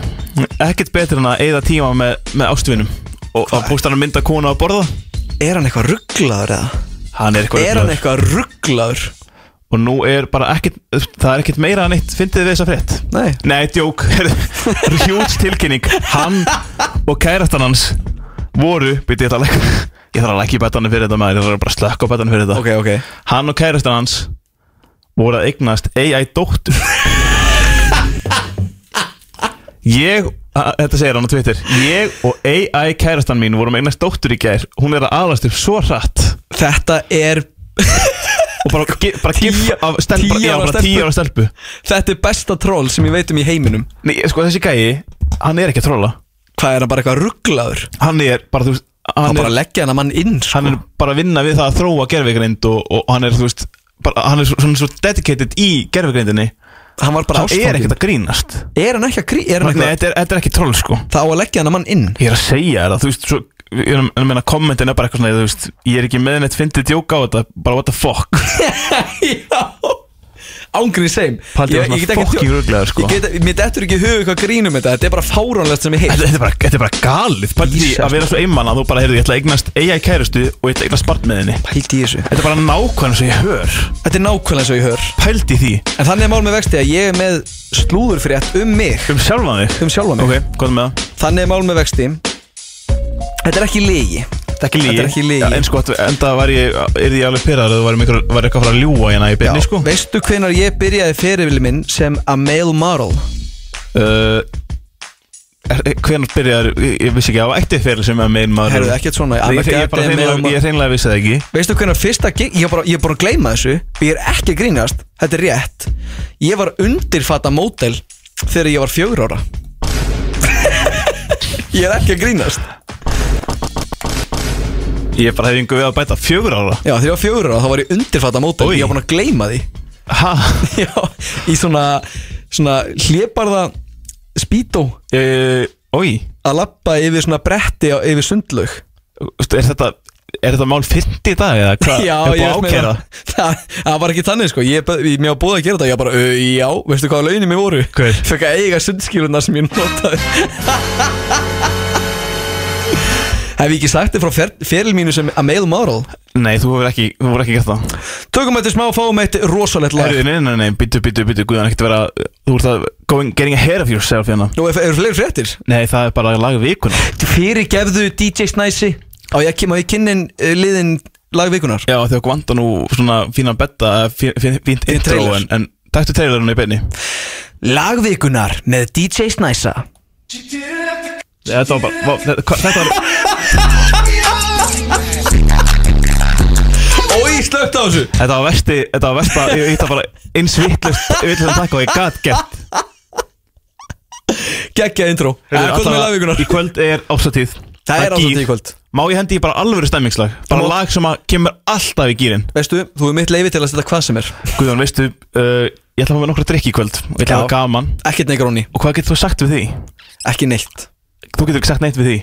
Speaker 2: Ekkert betur en að eigða tíma með, með ástvinum Og að posta hann að mynda konu að borða
Speaker 1: Er hann eitthvað rugglaður eða?
Speaker 2: Hann er eitthvað
Speaker 1: Er hann
Speaker 2: ruglaður.
Speaker 1: eitthvað rugglaður?
Speaker 2: Og nú er bara ekkert Það er ekkert meira en eitt Fyndið þið þessa frétt
Speaker 1: Nei
Speaker 2: Nei, djók Hjúts tilkynning Hann og kærastan hans voru Býtti ég þarf að lækka Ég þarf að lækka í betanum fyrir þetta maður Ég þarf bara að slökka á betanum fyrir þetta
Speaker 1: Ok, ok
Speaker 2: Hann og kærastan hans voru að eignast AI dóttur Ég, a- þetta segir hann á Twitter Ég og AI kærastan mín vorum að eignast dóttur í gær Hún er að aðlast upp svo hratt
Speaker 1: Þetta er
Speaker 2: Og bara, ge, bara gif
Speaker 1: Tíu-
Speaker 2: af stelp,
Speaker 1: tíu
Speaker 2: bara, já,
Speaker 1: ára
Speaker 2: bara tíu
Speaker 1: stelpu.
Speaker 2: ára stelpu
Speaker 1: Þetta er besta troll sem ég veit um í heiminum
Speaker 2: Nei, sko þessi gæi, hann er ekki að trolla
Speaker 1: Hvað er hann bara eitthvað rugglaður?
Speaker 2: Hann er bara, þú veist
Speaker 1: Hann
Speaker 2: Hann,
Speaker 1: bara
Speaker 2: er,
Speaker 1: leggja hann að mann inn sko.
Speaker 2: hann er bara að vinna við það að þróa gerfigreind og, og hann er, þú veist bara, Hann er svo, svona svo dedicated í gerfigreindinni
Speaker 1: Hann var bara
Speaker 2: Hann er
Speaker 1: ástfanginn.
Speaker 2: ekkert að grínast
Speaker 1: Er hann ekki að grí... Er
Speaker 2: Nei,
Speaker 1: hann eitthvað
Speaker 2: þetta er, þetta er ekki troll sko
Speaker 1: Það á að leggja hann að mann inn
Speaker 2: Ég er að segja þér það, þú veist, svo, ég er að ég meina kommentin er bara eitthvað svona, þú veist, ég er ekki með neitt fyndið djók á þetta, bara what the fuck.
Speaker 1: Já Ángrið seim
Speaker 2: Paldi var svona fokki ruglaður, sko.
Speaker 1: Ég get, mér dettur ekki í hug hvað grínum um þetta Þetta er bara fáránlegt sem ég heilt
Speaker 2: Þetta, þetta, er bara, þetta er bara galið, sko. bara því
Speaker 1: Jesus.
Speaker 2: að vera svo einmann að þú bara, heyrðu, ég ætla að eignast AI kærustu og ég ætla að eignast barn með henni.
Speaker 1: Pældi í þessu
Speaker 2: Þetta er bara nákvæmlega sem ég hör,
Speaker 1: Þetta er nákvæmlega svo ég hör
Speaker 2: pældi því,
Speaker 1: En þannig er mál með vexti að ég er með slúðurfrétt um mig
Speaker 2: um sjálfan þig.
Speaker 1: Um sjálfa mig
Speaker 2: Ok, hvað er með það?
Speaker 1: Þannig er mál með vexti Þetta er ekki legi
Speaker 2: Þetta er ekki lígi.
Speaker 1: Þetta er ekki lygi.
Speaker 2: Já, en sko, enda var ég, er ég alveg pyrraður að þú væri mikil, væri eitthvað að fara að ljúa hérna í byrni, sko.
Speaker 1: Veistu hvenar ég byrjaði ferivili minn sem a male model
Speaker 2: Uh, hvernig byrjar, eh, ég, ég vissi ekki, það var eitt fyrir sem er með maður.
Speaker 1: Herðu ekkert svona
Speaker 2: Ég,
Speaker 1: I'm a
Speaker 2: ég, ég, bara
Speaker 1: goddamn male
Speaker 2: hreinlega-
Speaker 1: model.
Speaker 2: ég hreinlega vissi það ekki
Speaker 1: Veistu hvernig fyrsta gig, ég er bara, ég er bara að gleyma þessu og ég er ekki að grínast, þetta er rétt Ég var undirfata mótel þegar ég var fjögur ára Ég er ekki að grínast
Speaker 2: Ég bara hef yngur við að bæta fjögur ára
Speaker 1: Já, þegar ég var fjögur ára þá var ég undirfata mótel
Speaker 2: Oj.
Speaker 1: Ég var búin að gleyma því
Speaker 2: Hæ?
Speaker 1: Já, í svona, svona hlébarða spító
Speaker 2: Eh, Ói,
Speaker 1: að lappa yfir svona bretti á, yfir sundlaug
Speaker 2: er þetta, er þetta mál fyrnt í dag eða hvað?
Speaker 1: Já,
Speaker 2: er búið
Speaker 1: ég
Speaker 2: að
Speaker 1: meina-
Speaker 2: ákæra?
Speaker 1: það, það var ekki þannig sko Ég, ég, mér var búið að gera þetta Ég bara, uh, já, veistu hvaða launin mér voru?
Speaker 2: Hver?
Speaker 1: Fekk að eiga sundskýruna sem ég notaði Hef ég ekki sagt þér frá fer, feril mínu sem að male model?
Speaker 2: Nei, þú hefur ekki, þú hefur ekki gert það
Speaker 1: Tökum þetta smá og fáum eitt rosalegt lag
Speaker 2: Herðu, nei, nei, nei, býtu, býtu, býtu, guðan ekkert vera Þú ert að going, getting ahead of yourself hérna
Speaker 1: Nú, eru er fleiri fréttir?
Speaker 2: Nei, það er bara lag vikuna
Speaker 1: Fyrirgefðu DJ Snæsi Á ég kem á ég kynnin uh, liðin lagvikunar
Speaker 2: Já, þau vanda nú svona fínan betta, eða fí- fí- fínt
Speaker 1: Í
Speaker 2: intro
Speaker 1: trailer.
Speaker 2: En, en taktu trailerinu í beinni
Speaker 1: Lagvikunar með DJ Snæsa
Speaker 2: Þetta var bara, vá, þetta hvað- þetta var
Speaker 1: Ói, slögt á þessu
Speaker 2: Þetta var versti, þetta var versta, ég hitta bara eins vittlust, vittlust takk og ég gat gert
Speaker 1: Gekkja intro
Speaker 2: Heyrðu,
Speaker 1: Hvað með
Speaker 2: allavega,
Speaker 1: Eh, lagvikunar?
Speaker 2: Í kvöld er ásatíð
Speaker 1: Það
Speaker 2: gír.
Speaker 1: er ásamt í kvöld
Speaker 2: Má ég hendi í bara alvöru stemmingslag Bara
Speaker 1: Þú má-
Speaker 2: lag sem að kemur alltaf í gýrin
Speaker 1: Veistu, þú er mitt leifi til að setja hvað sem er
Speaker 2: Guðjón, veistu, uh, ég ætla að fá með nokkra drikki í kvöld og Ég ætla að hafa gaman
Speaker 1: Ekkert negróni,
Speaker 2: Og hvað getur þú sagt við því?
Speaker 1: ekki neitt
Speaker 2: Þú getur ekki sagt neitt við því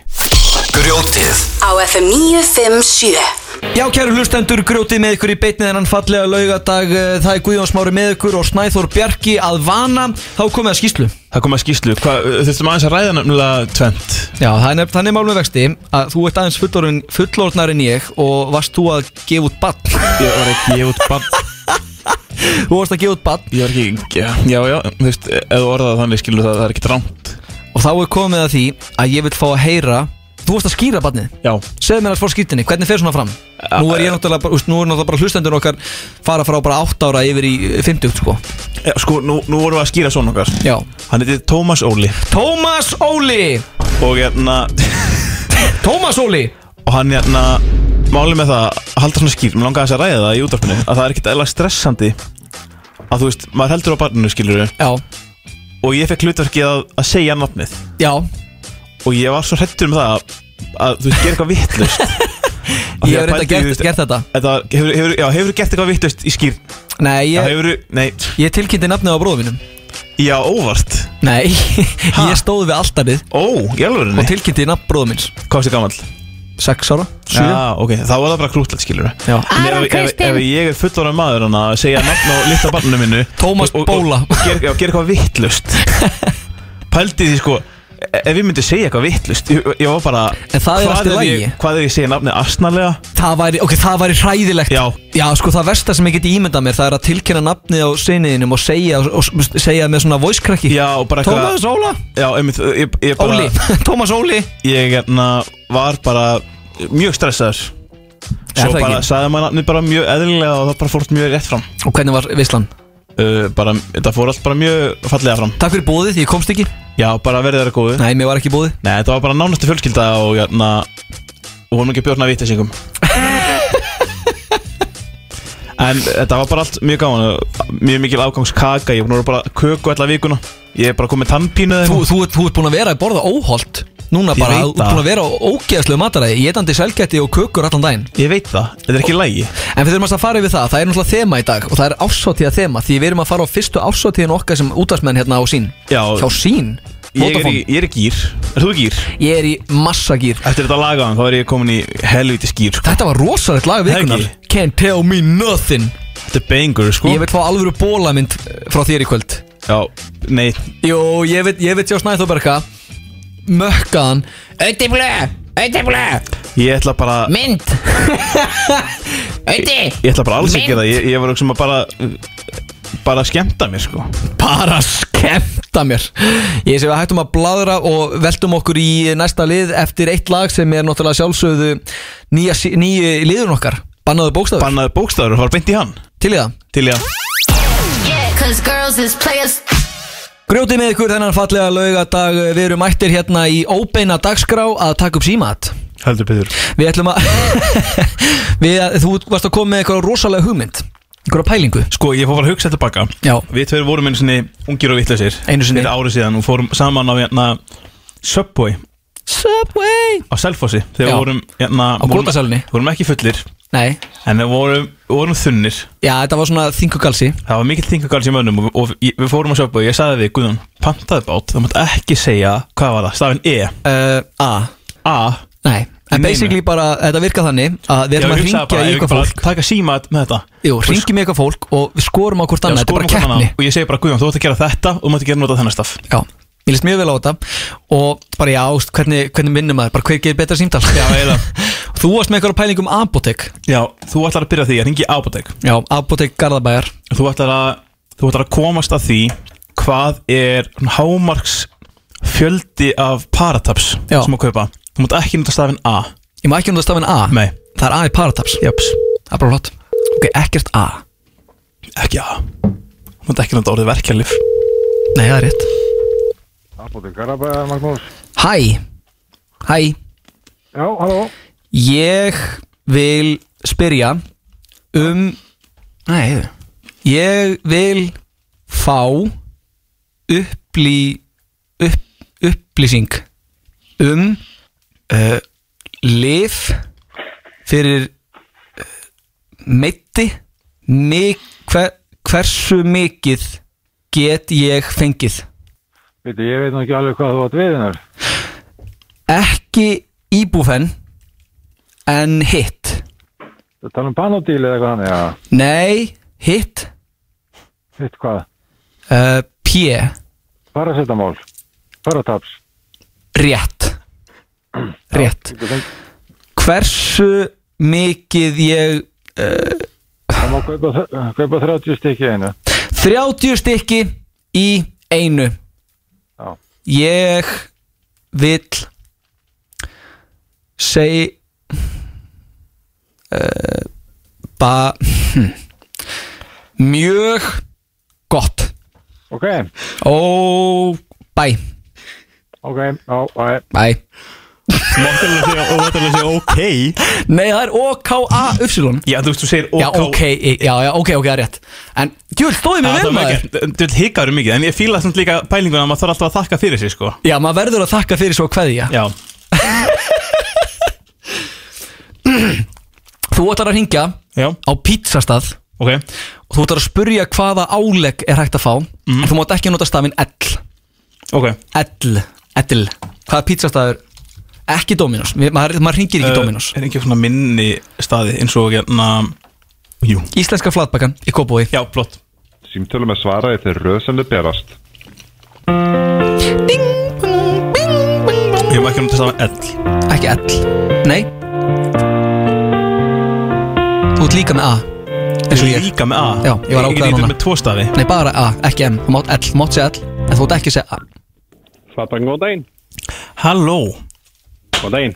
Speaker 6: Grjótið
Speaker 7: á FM 957
Speaker 1: Já, kæru hlustendur, grjótið með ykkur í beinni þennan fallega laugadag Það er Guðjón Smári með ykkur og Snæþór Bjarki að vana Þá komið að skýslu
Speaker 2: Það kom að skýslu, hvað, uh, þurftum aðeins að ræða nefnilega tvent
Speaker 1: Já, það er nefn, þannig mál með vexti að þú ert aðeins fullorinn, fullorðnar en ég og varst þú að gefa út bann
Speaker 2: Ég var ekki, ég út bann
Speaker 1: Þú varst að gefa út bann
Speaker 2: Ég var ekki, já, já, já þú veist, ef þú orðaði það þannig skilur það, það er ekki rámt
Speaker 1: og þá er komið að því að ég vil fá að heyra Þú varst að skýra bannið
Speaker 2: Já,
Speaker 1: Segðu mér að fór skýrtinni, hvernig fer svona fram? Nú er ég náttúrulega, bara- úst, nú er náttúrulega bara hlustendur okkar fara frá bara 8 ára yfir í 50 sko
Speaker 2: já sko, nú, nú vorum við að skýra svona okkar
Speaker 1: Já
Speaker 2: Hann heiti Tómas Óli
Speaker 1: Tómas Óli
Speaker 2: Og hérna,
Speaker 1: Tómas Óli
Speaker 2: og hann hérna Málið með það, að halda svona skýr Mér langaði þess að ræða það í útvarpinu Að það er ekkert eðla stressandi Að þú veist, maður heldur á barninu skilur
Speaker 1: Já,
Speaker 2: Og ég fekk hlutverkið að, að segja nafnið
Speaker 1: já
Speaker 2: Og ég var svo hrettur um það að, að þú veist, gera eitthvað vittlust
Speaker 1: Ég hef reynda gert, gert þetta
Speaker 2: Þetta hefur, hefur, já, hefur gert eitthvað vittlust í skýr
Speaker 1: Nei,
Speaker 2: Já,
Speaker 1: ég,
Speaker 2: hefur, nei,
Speaker 1: ég tilkynnti nafnið á bróðvinum
Speaker 2: já, óvart
Speaker 1: Nei, ég stóð við alltarið
Speaker 2: Ó, í alvörunni
Speaker 1: og tilkynnti nafn bróðumins
Speaker 2: Hvað er gamall?
Speaker 1: 6 ára, 7
Speaker 2: Já, ok, þá var það bara krútlegt, skilur
Speaker 1: Já.
Speaker 2: Aron Kristinn Ef ég er fullorðan maður hann að segja nafn á litla barninu minnu
Speaker 1: Tómas
Speaker 2: og- og-
Speaker 1: Bóla.
Speaker 2: Og gera ger eitthvað vittlust Pældi því sko e- Ef ég myndi segja eitthvað vittlust ég, ég var bara
Speaker 1: En það er
Speaker 2: hvað
Speaker 1: allt í lagi.
Speaker 2: ég- Hvað er ég segja nafnið astnarlega?
Speaker 1: Það væri, ok, það væri hræðilegt
Speaker 2: Já.
Speaker 1: sko, það versta sem ég geti ímyndað mér Það er að tilkynna nafnið á syniðinum og segja, og, og, segja með svona voice cracki
Speaker 2: Já, og bara
Speaker 1: Tómas Óla
Speaker 2: Já, einmitt, ég, ég bara
Speaker 1: Óli, Tómas Óli
Speaker 2: Ég hérna, var bara mjög stressaður Svo
Speaker 1: það ekki?
Speaker 2: bara sagði maður nafnið bara mjög eðlilega og það bara fórt mjög rétt fram
Speaker 1: Og hvernig var vislan?
Speaker 2: uh, bara, Þetta fór allt bara mjög fallega fram
Speaker 1: Takk fyrir bóðið, ég komst ekki
Speaker 2: Já, bara verið þeirra góðu
Speaker 1: Nei, mér var ekki bóðið
Speaker 2: Nei, þetta var bara nánastu fjölskylda og hérna og vorum ekki að bjórna vittisingum En þetta var bara allt mjög gaman mjög mikil afgangskaka, ég voru bara köku alla vikuna, ég er bara komið tannpínu eða
Speaker 1: þú,
Speaker 2: eitthvað.
Speaker 1: þú, ert- þú ert búin að vera að borða óholt Núna
Speaker 2: Ég
Speaker 1: bara,
Speaker 2: veit
Speaker 1: þú ert
Speaker 2: það.
Speaker 1: búin að vera á ógeðslegu mataræði Étandi selgæti og kökur allan daginn
Speaker 2: Ég veit það, þetta er ekki lægi
Speaker 1: En við þurfum alltaf að fara yfir það, það er náttúrulega þema í dag Og það er ársóttíða þema, því við erum að fara á fyrstu ársóttíðin okkar sem útvarsmenn hérna á sín
Speaker 2: Já.
Speaker 1: Hjá sín,
Speaker 2: Ég er, í,
Speaker 1: Vodafone,
Speaker 2: ég er í gýr, er þú í gýr?
Speaker 1: ég er í massagýr
Speaker 2: Eftir þetta lagaðan, þá er ég komin í helviti skýr sko.
Speaker 1: Þetta var rosalegt lag vikunar
Speaker 2: Helgi.
Speaker 1: Can't tell me nothing
Speaker 2: Þetta er bengur, sko
Speaker 1: Ég vil fá alvöru bólamynd frá þér í kvöld
Speaker 2: Já, nei,
Speaker 1: Jó, ég vil, ég vil sjá Snæþóberga Mökkaðan Ötti blö, ötti blö
Speaker 2: ég ætla bara
Speaker 8: Mynd Öndi
Speaker 2: Ég ætla bara alls ekki
Speaker 8: Mynd.
Speaker 2: það, ég, ég var auksum að bara bara að skemmta mér, sko
Speaker 1: Bara skemmta mér Ég sé að hættum að bladra og veltum okkur í næsta lið eftir eitt lag sem er náttúrulega sjálfsögðu nýja, sí- nýji liðun okkar Bannaðu bókstafur
Speaker 2: Bannaði bókstafur, það var beint í hann
Speaker 1: Til í það
Speaker 2: Til ég að
Speaker 9: Cause girls is players.
Speaker 1: Grjótið með ykkur þennan fallega laugadag Við erum mættir hérna í óbeina dagskrá að taka upp símat
Speaker 2: Heldur betur
Speaker 1: Við ætlum að við, Þú varst að koma með eitthvað rosalega hugmynd Einhverja pælingu
Speaker 2: Sko, ég fór bara að hugsa þetta baka
Speaker 1: Já.
Speaker 2: Við tveir vorum einu sinni ungir og vittlausir
Speaker 1: Einu sinni.
Speaker 2: Fyrir ári síðan og fórum saman á hérna Subway
Speaker 1: Subway
Speaker 2: á Selfossi Þegar
Speaker 1: Já.
Speaker 2: við vorum hérna
Speaker 1: Á
Speaker 2: vorum-
Speaker 1: Grótasalnum.
Speaker 2: Vorum ekki fullir
Speaker 1: Nei,
Speaker 2: En við vorum, vorum þunnir
Speaker 1: já þetta var svona þingugalsi
Speaker 2: Það var mikill þingagals í mönnum og, og ég- við fórum á Subway Ég sagði við, Guðun, pantaði bát Það mátt ekki segja, hvað var það? Stafin E
Speaker 1: uh, A
Speaker 2: A
Speaker 1: Nei, en
Speaker 2: Nei,
Speaker 1: basically bara þetta virkað þannig að við
Speaker 2: Ég
Speaker 1: ætlum að
Speaker 2: hugsaði
Speaker 1: ringja
Speaker 2: bara,
Speaker 1: í
Speaker 2: ég
Speaker 1: eitthvað
Speaker 2: bara
Speaker 1: fólk
Speaker 2: Taka símat með þetta
Speaker 1: Jú, ringjum í eitthvað fólk og við skorum á hvort
Speaker 2: Já,
Speaker 1: annað, þetta er
Speaker 2: skorum
Speaker 1: bara
Speaker 2: hvort annað.
Speaker 1: keppni
Speaker 2: Og ég segi bara, Guðjón, þú ætti að gera þetta og þú mátti gera nota þennan staf
Speaker 1: Já, ég list mjög vel á þetta og bara já, veist, hvernig, hvernig vinnum maður, bara hver gerir betra símtal Já,
Speaker 2: eiginlega.
Speaker 1: Þú varst með einhverja pæling um apotek
Speaker 2: Já, þú ætlar að byrja á því, ég ringi Apotek
Speaker 1: Já, apotek Garðabæjar
Speaker 2: þú ætlar að þú ætlar að komast að því hvað er svona hámarks fjöldi af parataps
Speaker 1: Já.
Speaker 2: sem að kaupa þú mátt ekki nota stafinn A
Speaker 1: Ég má ekki nota stafinn A
Speaker 2: nei,
Speaker 1: Það er A í parataps
Speaker 2: jöps,
Speaker 1: Það er bara flott Ok, ekkert A
Speaker 2: ekki A þú mátt ekki nota orðið verkjarlif
Speaker 1: Nei, það er rétt
Speaker 10: Apotek Garabæðar, Magnús.
Speaker 1: Hæ Hæ
Speaker 10: Já, halló.
Speaker 1: Ég vil spyrja um Nei, heyrðu. ég vil fá upplý upp, upplýsing um uh, lif fyrir eh, meiddi mik, hver, hversu mikið get ég fengið
Speaker 10: Veitu, ég veit nú ekki alveg hvað þú átt við hennar.
Speaker 1: ekki íbúfen en hitt
Speaker 10: Það tala um panodíl eða eitthvað hann, já.
Speaker 1: nei, hitt
Speaker 10: Hitt hvað?
Speaker 1: uh, P,
Speaker 10: Paracetamól. Parataps.
Speaker 1: rétt rétt hversu mikið ég
Speaker 10: Það má kaupa, þ- kaupa 30 stykki í einu.
Speaker 1: 30 stykki í einu
Speaker 10: Já.
Speaker 1: Ég vill segi uh, eh, ba hm. mjög gott
Speaker 10: Ok,
Speaker 1: og bæ
Speaker 10: ok, já, já,
Speaker 1: bæ
Speaker 2: Máttulega segja, og máttulega segja ok
Speaker 1: Nei, það er OKAY
Speaker 2: Já, þú veist, þú segir
Speaker 1: Já, ok, e, já, já, ok, ok, það er rétt En, djúl, stóði mig vel maður
Speaker 2: Þú vil hikaður um mikið, en ég fíla samt líka pælinguna að maður þarf alltaf að þakka fyrir sig, sko
Speaker 1: Já, maður verður að þakka fyrir svo kveðja
Speaker 2: Já,
Speaker 1: Þú ætlar að hringja
Speaker 2: já,
Speaker 1: á pizzastað
Speaker 2: ok
Speaker 1: og þú ætlar að spurja hvaða álegg er hægt að fá
Speaker 2: Mhm.
Speaker 1: en þú mátt ekki nota stafinn ell
Speaker 2: Ok,
Speaker 1: ell, ell hvaða pizzastafur, ekki Dominos Við- maður, maður ringir
Speaker 2: Eh,
Speaker 1: ekki Dominos
Speaker 2: Er ekki svona minni staði eins og hérna Jú
Speaker 1: Íslenska flatbakan í Kópói
Speaker 2: Já, flott
Speaker 11: Símtölum er svara í þeirri röð sem þau berast.
Speaker 2: Ég má ekki nota saman ell
Speaker 1: ekki ell, nei þú ert líka með A eins og ég,
Speaker 2: Líka með A
Speaker 1: Já, ég var ákveðinn
Speaker 2: Ég
Speaker 1: núna.
Speaker 2: nýttur með tvo staði
Speaker 1: nei bara A, ekki M þú mátt ell, mátt segja ell en þú mátt ekki segja A
Speaker 11: Svata, góð daginn.
Speaker 2: Halló
Speaker 11: Góð daginn.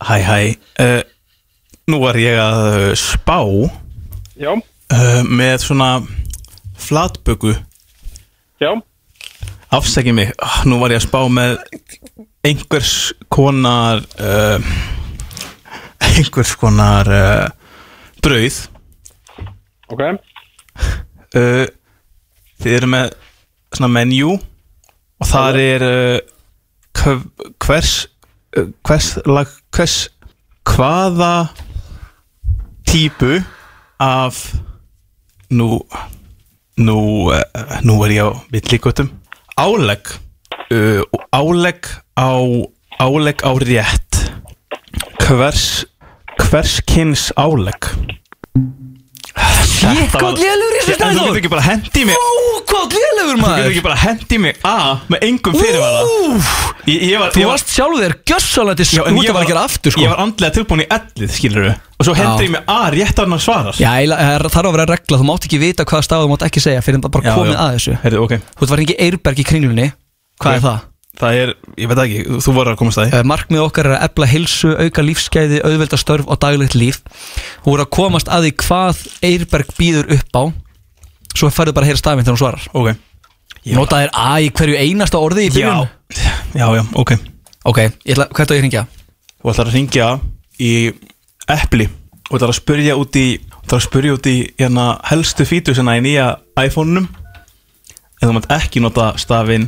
Speaker 2: Hæ, hæ uh, Nú var ég að uh, spá uh,
Speaker 11: Já,
Speaker 2: með svona flatböku
Speaker 11: já,
Speaker 2: Afsækið mig, Ah, nú var ég að spá með einhvers konar uh, einhvers konar uh, brauð
Speaker 11: ok.
Speaker 2: uh, Þið eru með svona menjú og þar er uh, hv- hvers uh, hvers, lag, hvers hvaða típu af nú nú, uh, nú er ég á villikotum álegg uh, álegg á álegg á rétt hvers hvers kynns álegg
Speaker 1: Ég,
Speaker 2: Þetta var-
Speaker 1: hvað lélegur í þessu
Speaker 2: En
Speaker 1: staði
Speaker 2: Þú getur
Speaker 1: Þór
Speaker 2: ekki bara hendi mig
Speaker 1: Ó, hvað
Speaker 2: Þú
Speaker 1: lélegur
Speaker 2: getur
Speaker 1: maður
Speaker 2: ekki bara hendi mig A með engum fyrirvara
Speaker 1: Úf,
Speaker 2: Ég, ég var,
Speaker 1: Þú
Speaker 2: ég var,
Speaker 1: varst sjálf þér gjössalandi
Speaker 2: Já, en ég
Speaker 1: skúta var að
Speaker 2: var-
Speaker 1: gera aftur sko
Speaker 2: ég var andlega tilbúin í ellið, skilur Og svo hendi ég mig A rétt að hann svarar
Speaker 1: Já, eiginlega, það er- þarf að vera regla, þú mátt ekki vita hvaða stafu þú mátt ekki segja fyrir en það bara komið að þessu
Speaker 2: Heyrðu, ok
Speaker 1: Þú ert var ekki Eirberg í kringlunni, hvað
Speaker 2: Ok.
Speaker 1: er það?
Speaker 2: Það er, ég veit það ekki, þú voru að komast að því
Speaker 1: Eh, Markmið okkar er að ebla hilsu, auka lífsgæði, auðvelda störf og daglegt líf Þú er að komast að því hvað Eirberg býður upp á Svo færðu bara að heyra stafinn þegar hún svarar
Speaker 2: Ok
Speaker 1: Ég nota þér að í hverju einasta orði í
Speaker 2: Já,
Speaker 1: byrjun
Speaker 2: já, já, ok
Speaker 1: Ok, ég ætla, hvert á ég að hringja?
Speaker 2: Þú ætlar að ringja í Eppli Og ætlar að spyrja út í Þú ætlar að spyrja út í hérna helstu fítusina í nýja iPhone-num En þú mátt ekki nota stafinn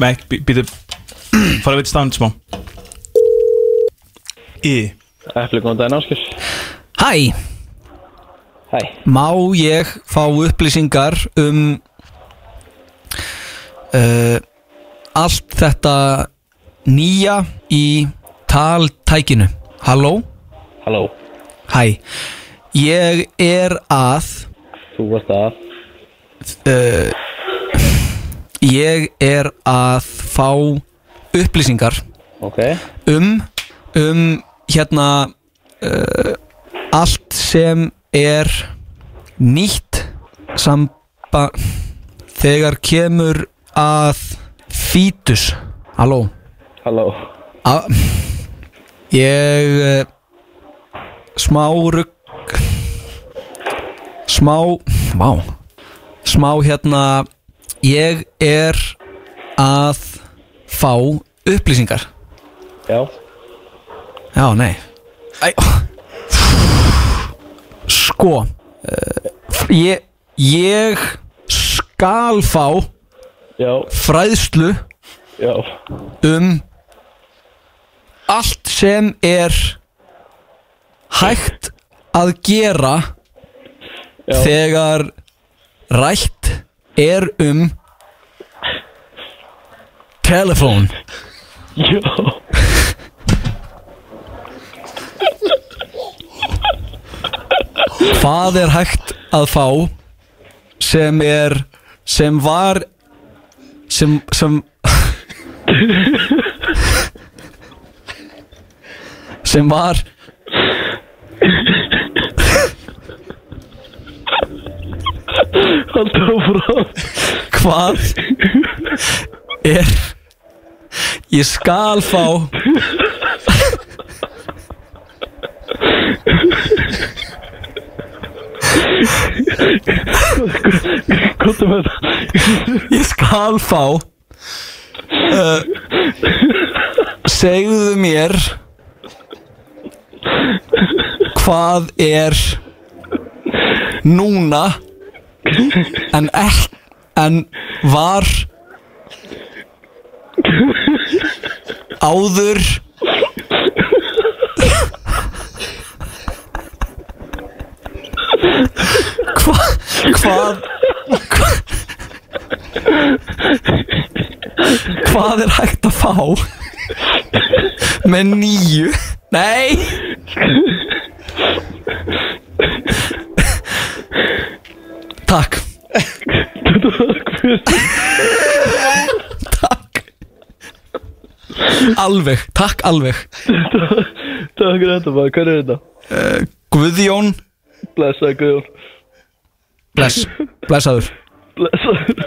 Speaker 2: Nei, bý- býtu Fara við stafinn smá Í
Speaker 11: Epli, góð daginn, Áskis.
Speaker 1: Hæ,
Speaker 11: Hæ.
Speaker 1: má ég fá upplýsingar um uh, allt þetta nýja í taltækinu? Halló?
Speaker 11: Halló.
Speaker 1: Hæ, ég er að, uh,
Speaker 11: Þú varst að.
Speaker 1: ég er að fá upplýsingar
Speaker 11: Ok.
Speaker 1: um, um hérna uh, allt sem er nýtt samba þegar kemur að fítus Halló
Speaker 11: Halló.
Speaker 1: A Ég uh, smá rugg smá Vá smá hérna ég er að fá upplýsingar
Speaker 11: Já.
Speaker 1: Já, nei Æ. Sko uh, ég, ég skal fá
Speaker 11: Já.
Speaker 1: fræðslu
Speaker 11: Já.
Speaker 1: um allt sem er hægt að gera þegar rætt er um telefón
Speaker 11: Jó
Speaker 1: hvað er hægt að fá sem er sem var sem, sem sem var
Speaker 11: Haldur áfram
Speaker 1: hvað er ég skal fá
Speaker 11: Kottu með það
Speaker 1: ég skal fá uh, segðu mér hvað er núna en ekki en var áður Hva, hvað hvað er hægt að fá með nýju nei takk takk alveg, takk alveg
Speaker 11: Takk fyrir þetta maður, hvað er þetta?
Speaker 1: Guðjón,
Speaker 11: Blessaði Guðjón
Speaker 1: bless blessaður
Speaker 11: Blessaði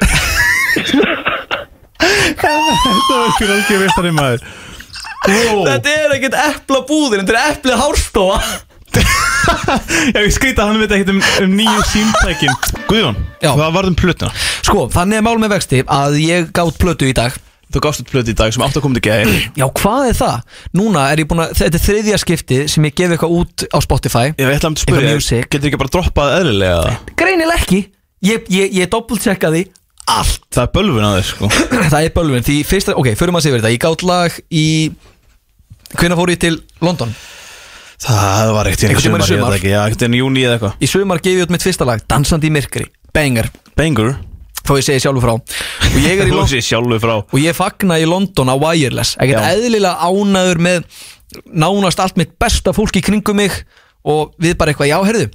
Speaker 2: Hver algjör veistari maður Þetta
Speaker 1: er ekkert epla búðin, þetta er eplið hárstofa
Speaker 2: Já, ég skrýta að hann veit ekkert um, um nýju símtækin Guðjón,
Speaker 1: Já.
Speaker 2: hvað varð um plötuna?
Speaker 1: sko, þannig er mál með vexti að ég gátt plötu í dag
Speaker 2: Þú gafst út plötu í dag sem átt að koma til gæði
Speaker 1: Já, hvað er það? Núna er ég búin að, þetta er þriðja skipti sem ég gef eitthvað út á Spotify
Speaker 2: Ég veit að
Speaker 1: Eitthvað
Speaker 2: spyrja,
Speaker 1: music.
Speaker 2: getur ekki bara droppað eðlilega?
Speaker 1: Greinileg ekki Ég, ég, ég doppeltsekkaði allt
Speaker 2: Það er bölvun að þeir sko
Speaker 1: Það er bölvun, því fyrsta, ok, förum að séu þetta Ég gátt lag í Hvenær fór ég til London?
Speaker 2: Það var ekkert
Speaker 1: Einhvern tímann í
Speaker 2: ég veit
Speaker 1: sumar.
Speaker 2: ekki, já, ekkert enn í júni eða eitthvað
Speaker 1: Í sumar gef ég út mitt fyrsta lag, Dansandi í myrkri Banger,
Speaker 2: Bengur,
Speaker 1: þó ég segi sjálfur frá Og ég er í
Speaker 2: þú
Speaker 1: London
Speaker 2: sé sjálfu frá
Speaker 1: og ég fagna í London á Wireless ekkert
Speaker 2: Já.
Speaker 1: eðlilega ánæður með nánast allt mitt besta fólk í kringum mig og við bara eitthvað já, herðu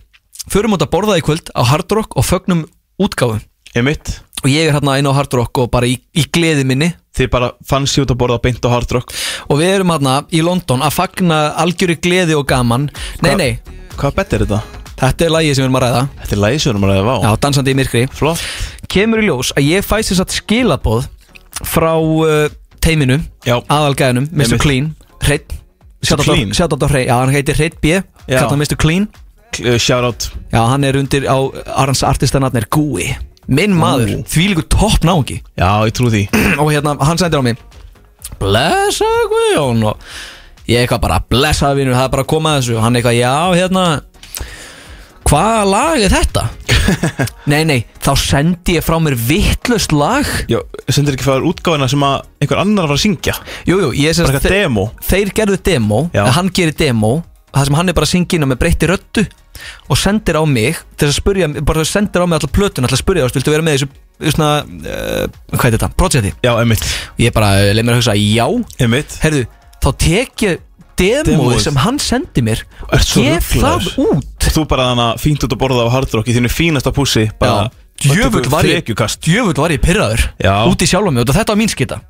Speaker 1: förum út að borða í kvöld á Hard Rock og fögnum útgáfu
Speaker 2: Ég mitt,
Speaker 1: og ég er hérna inn á Hard Rock og bara í, í gleði minni
Speaker 2: þið bara fannst ég út að borða beint á Hard Rock
Speaker 1: og við erum hérna í London að fagna algjöri gleði og gaman nei,
Speaker 2: Hva-
Speaker 1: nei,
Speaker 2: Hvað bett er þetta?
Speaker 1: þetta er lagið sem við erum að ræða
Speaker 2: Þetta er lægisörum að ræða, vá
Speaker 1: já, dansandi í myrkri
Speaker 2: Flott
Speaker 1: kemur í ljós að ég fæst þess að skilaboð frá uh, teiminu,
Speaker 2: Já.
Speaker 1: aðalgæðinum Mr.
Speaker 2: Einmitt.
Speaker 1: Clean, Hreitt
Speaker 2: Clean?
Speaker 1: Sjátt á Hreitt, já hann heitir Hreitt B
Speaker 2: Já.
Speaker 1: kallar hann Mr. Clean,
Speaker 2: Kl- uh, Shoutout
Speaker 1: já hann er undir á Arans artistanarnir Gúi minn maður, því líku topp náungi
Speaker 2: Já, ég trú því
Speaker 1: og hérna hann sendir á mig blessa Guðjón og ég eitthvað bara blessa vinur það er bara að koma að þessu og hann eitthvað já hérna hvaða lag er þetta? nei nei þá sendi ég frá mér vittlust lag
Speaker 2: Já, sendir ekki fyrir útgáfina sem að einhver annar var að syngja
Speaker 1: jújú jú, ég sem
Speaker 2: Bara
Speaker 1: sagt-
Speaker 2: eitthvað demo
Speaker 1: þeir gerðu demo
Speaker 2: Já.
Speaker 1: en hann gerir demo það sem hann er bara að syngja inn á með breytti röttu og sendir á mig til þess að spurja bara sendir á mig allar plötun allar að spurja þú veist, viltu vera með í þessu, í svona uh, hvað er þetta, projekti
Speaker 2: Já, emitt
Speaker 1: ég bara eh, leið mér að hugsa já
Speaker 2: Emitt
Speaker 1: herðu, þá tek ég demóið
Speaker 2: Demóið.
Speaker 1: sem hann sendi mér og
Speaker 2: Ert svo
Speaker 1: gef það
Speaker 2: ruglaður.
Speaker 1: út
Speaker 2: Þú bara þannig að fínt út að borða á Hard Rock í þínu fínasta pússi bara-
Speaker 1: djöfull var ég
Speaker 2: Frekjukast.
Speaker 1: djöfull var ég pyrraður
Speaker 2: Já.
Speaker 1: út í sjálfa mig og þetta var mín skita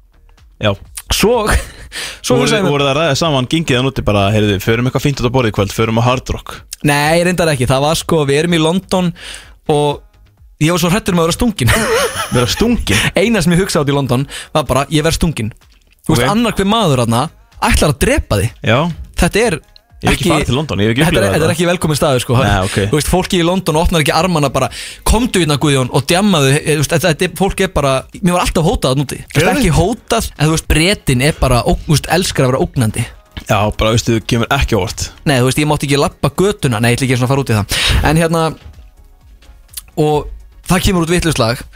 Speaker 2: Já
Speaker 1: svo, svo
Speaker 2: Svo voru,
Speaker 1: hugsaði ég mér-
Speaker 2: voru það að ræða saman, gengið það núti bara, heyrðu, förum eitthvað fínt út að borða í kvöld, förum á Hard Rock
Speaker 1: Nei, reyndar ekki, það var sko, við erum í London og ég var svo hrættur um að vera stungin
Speaker 2: Verða stungin
Speaker 1: Eina sem ég hugsaði átt í London var bara, ég verð stungin Þú veist,
Speaker 2: Ok.
Speaker 1: annar hver maður þarna ætlar að drepa þig
Speaker 2: Já,
Speaker 1: Þetta er
Speaker 2: Ég hef ekki farið til London, ég hef ekki
Speaker 1: þetta, er,
Speaker 2: upplifað
Speaker 1: þetta er
Speaker 2: þetta.
Speaker 1: ekki velkomin staður sko
Speaker 2: Nei, ok.
Speaker 1: Þú veist, fólki í London opnar ekki armana bara Komdu hérna Guðjón og djammaðu eh, þú veist, þetta, þetta, er- Fólk er bara, mér var alltaf hótað þarna úti Þú veist,
Speaker 2: Gerðu?
Speaker 1: Ekki hótað, en þú veist, bretin er bara ógn- Þú veist, elskar að vera ógnandi
Speaker 2: já, bara, veistu, þú kemur ekki á óvart
Speaker 1: Nei, þú veist, ég mátti ekki lappa götuna Nei, ég ætla ekki svona að fara út í það En hérna Og það kemur út vittluslag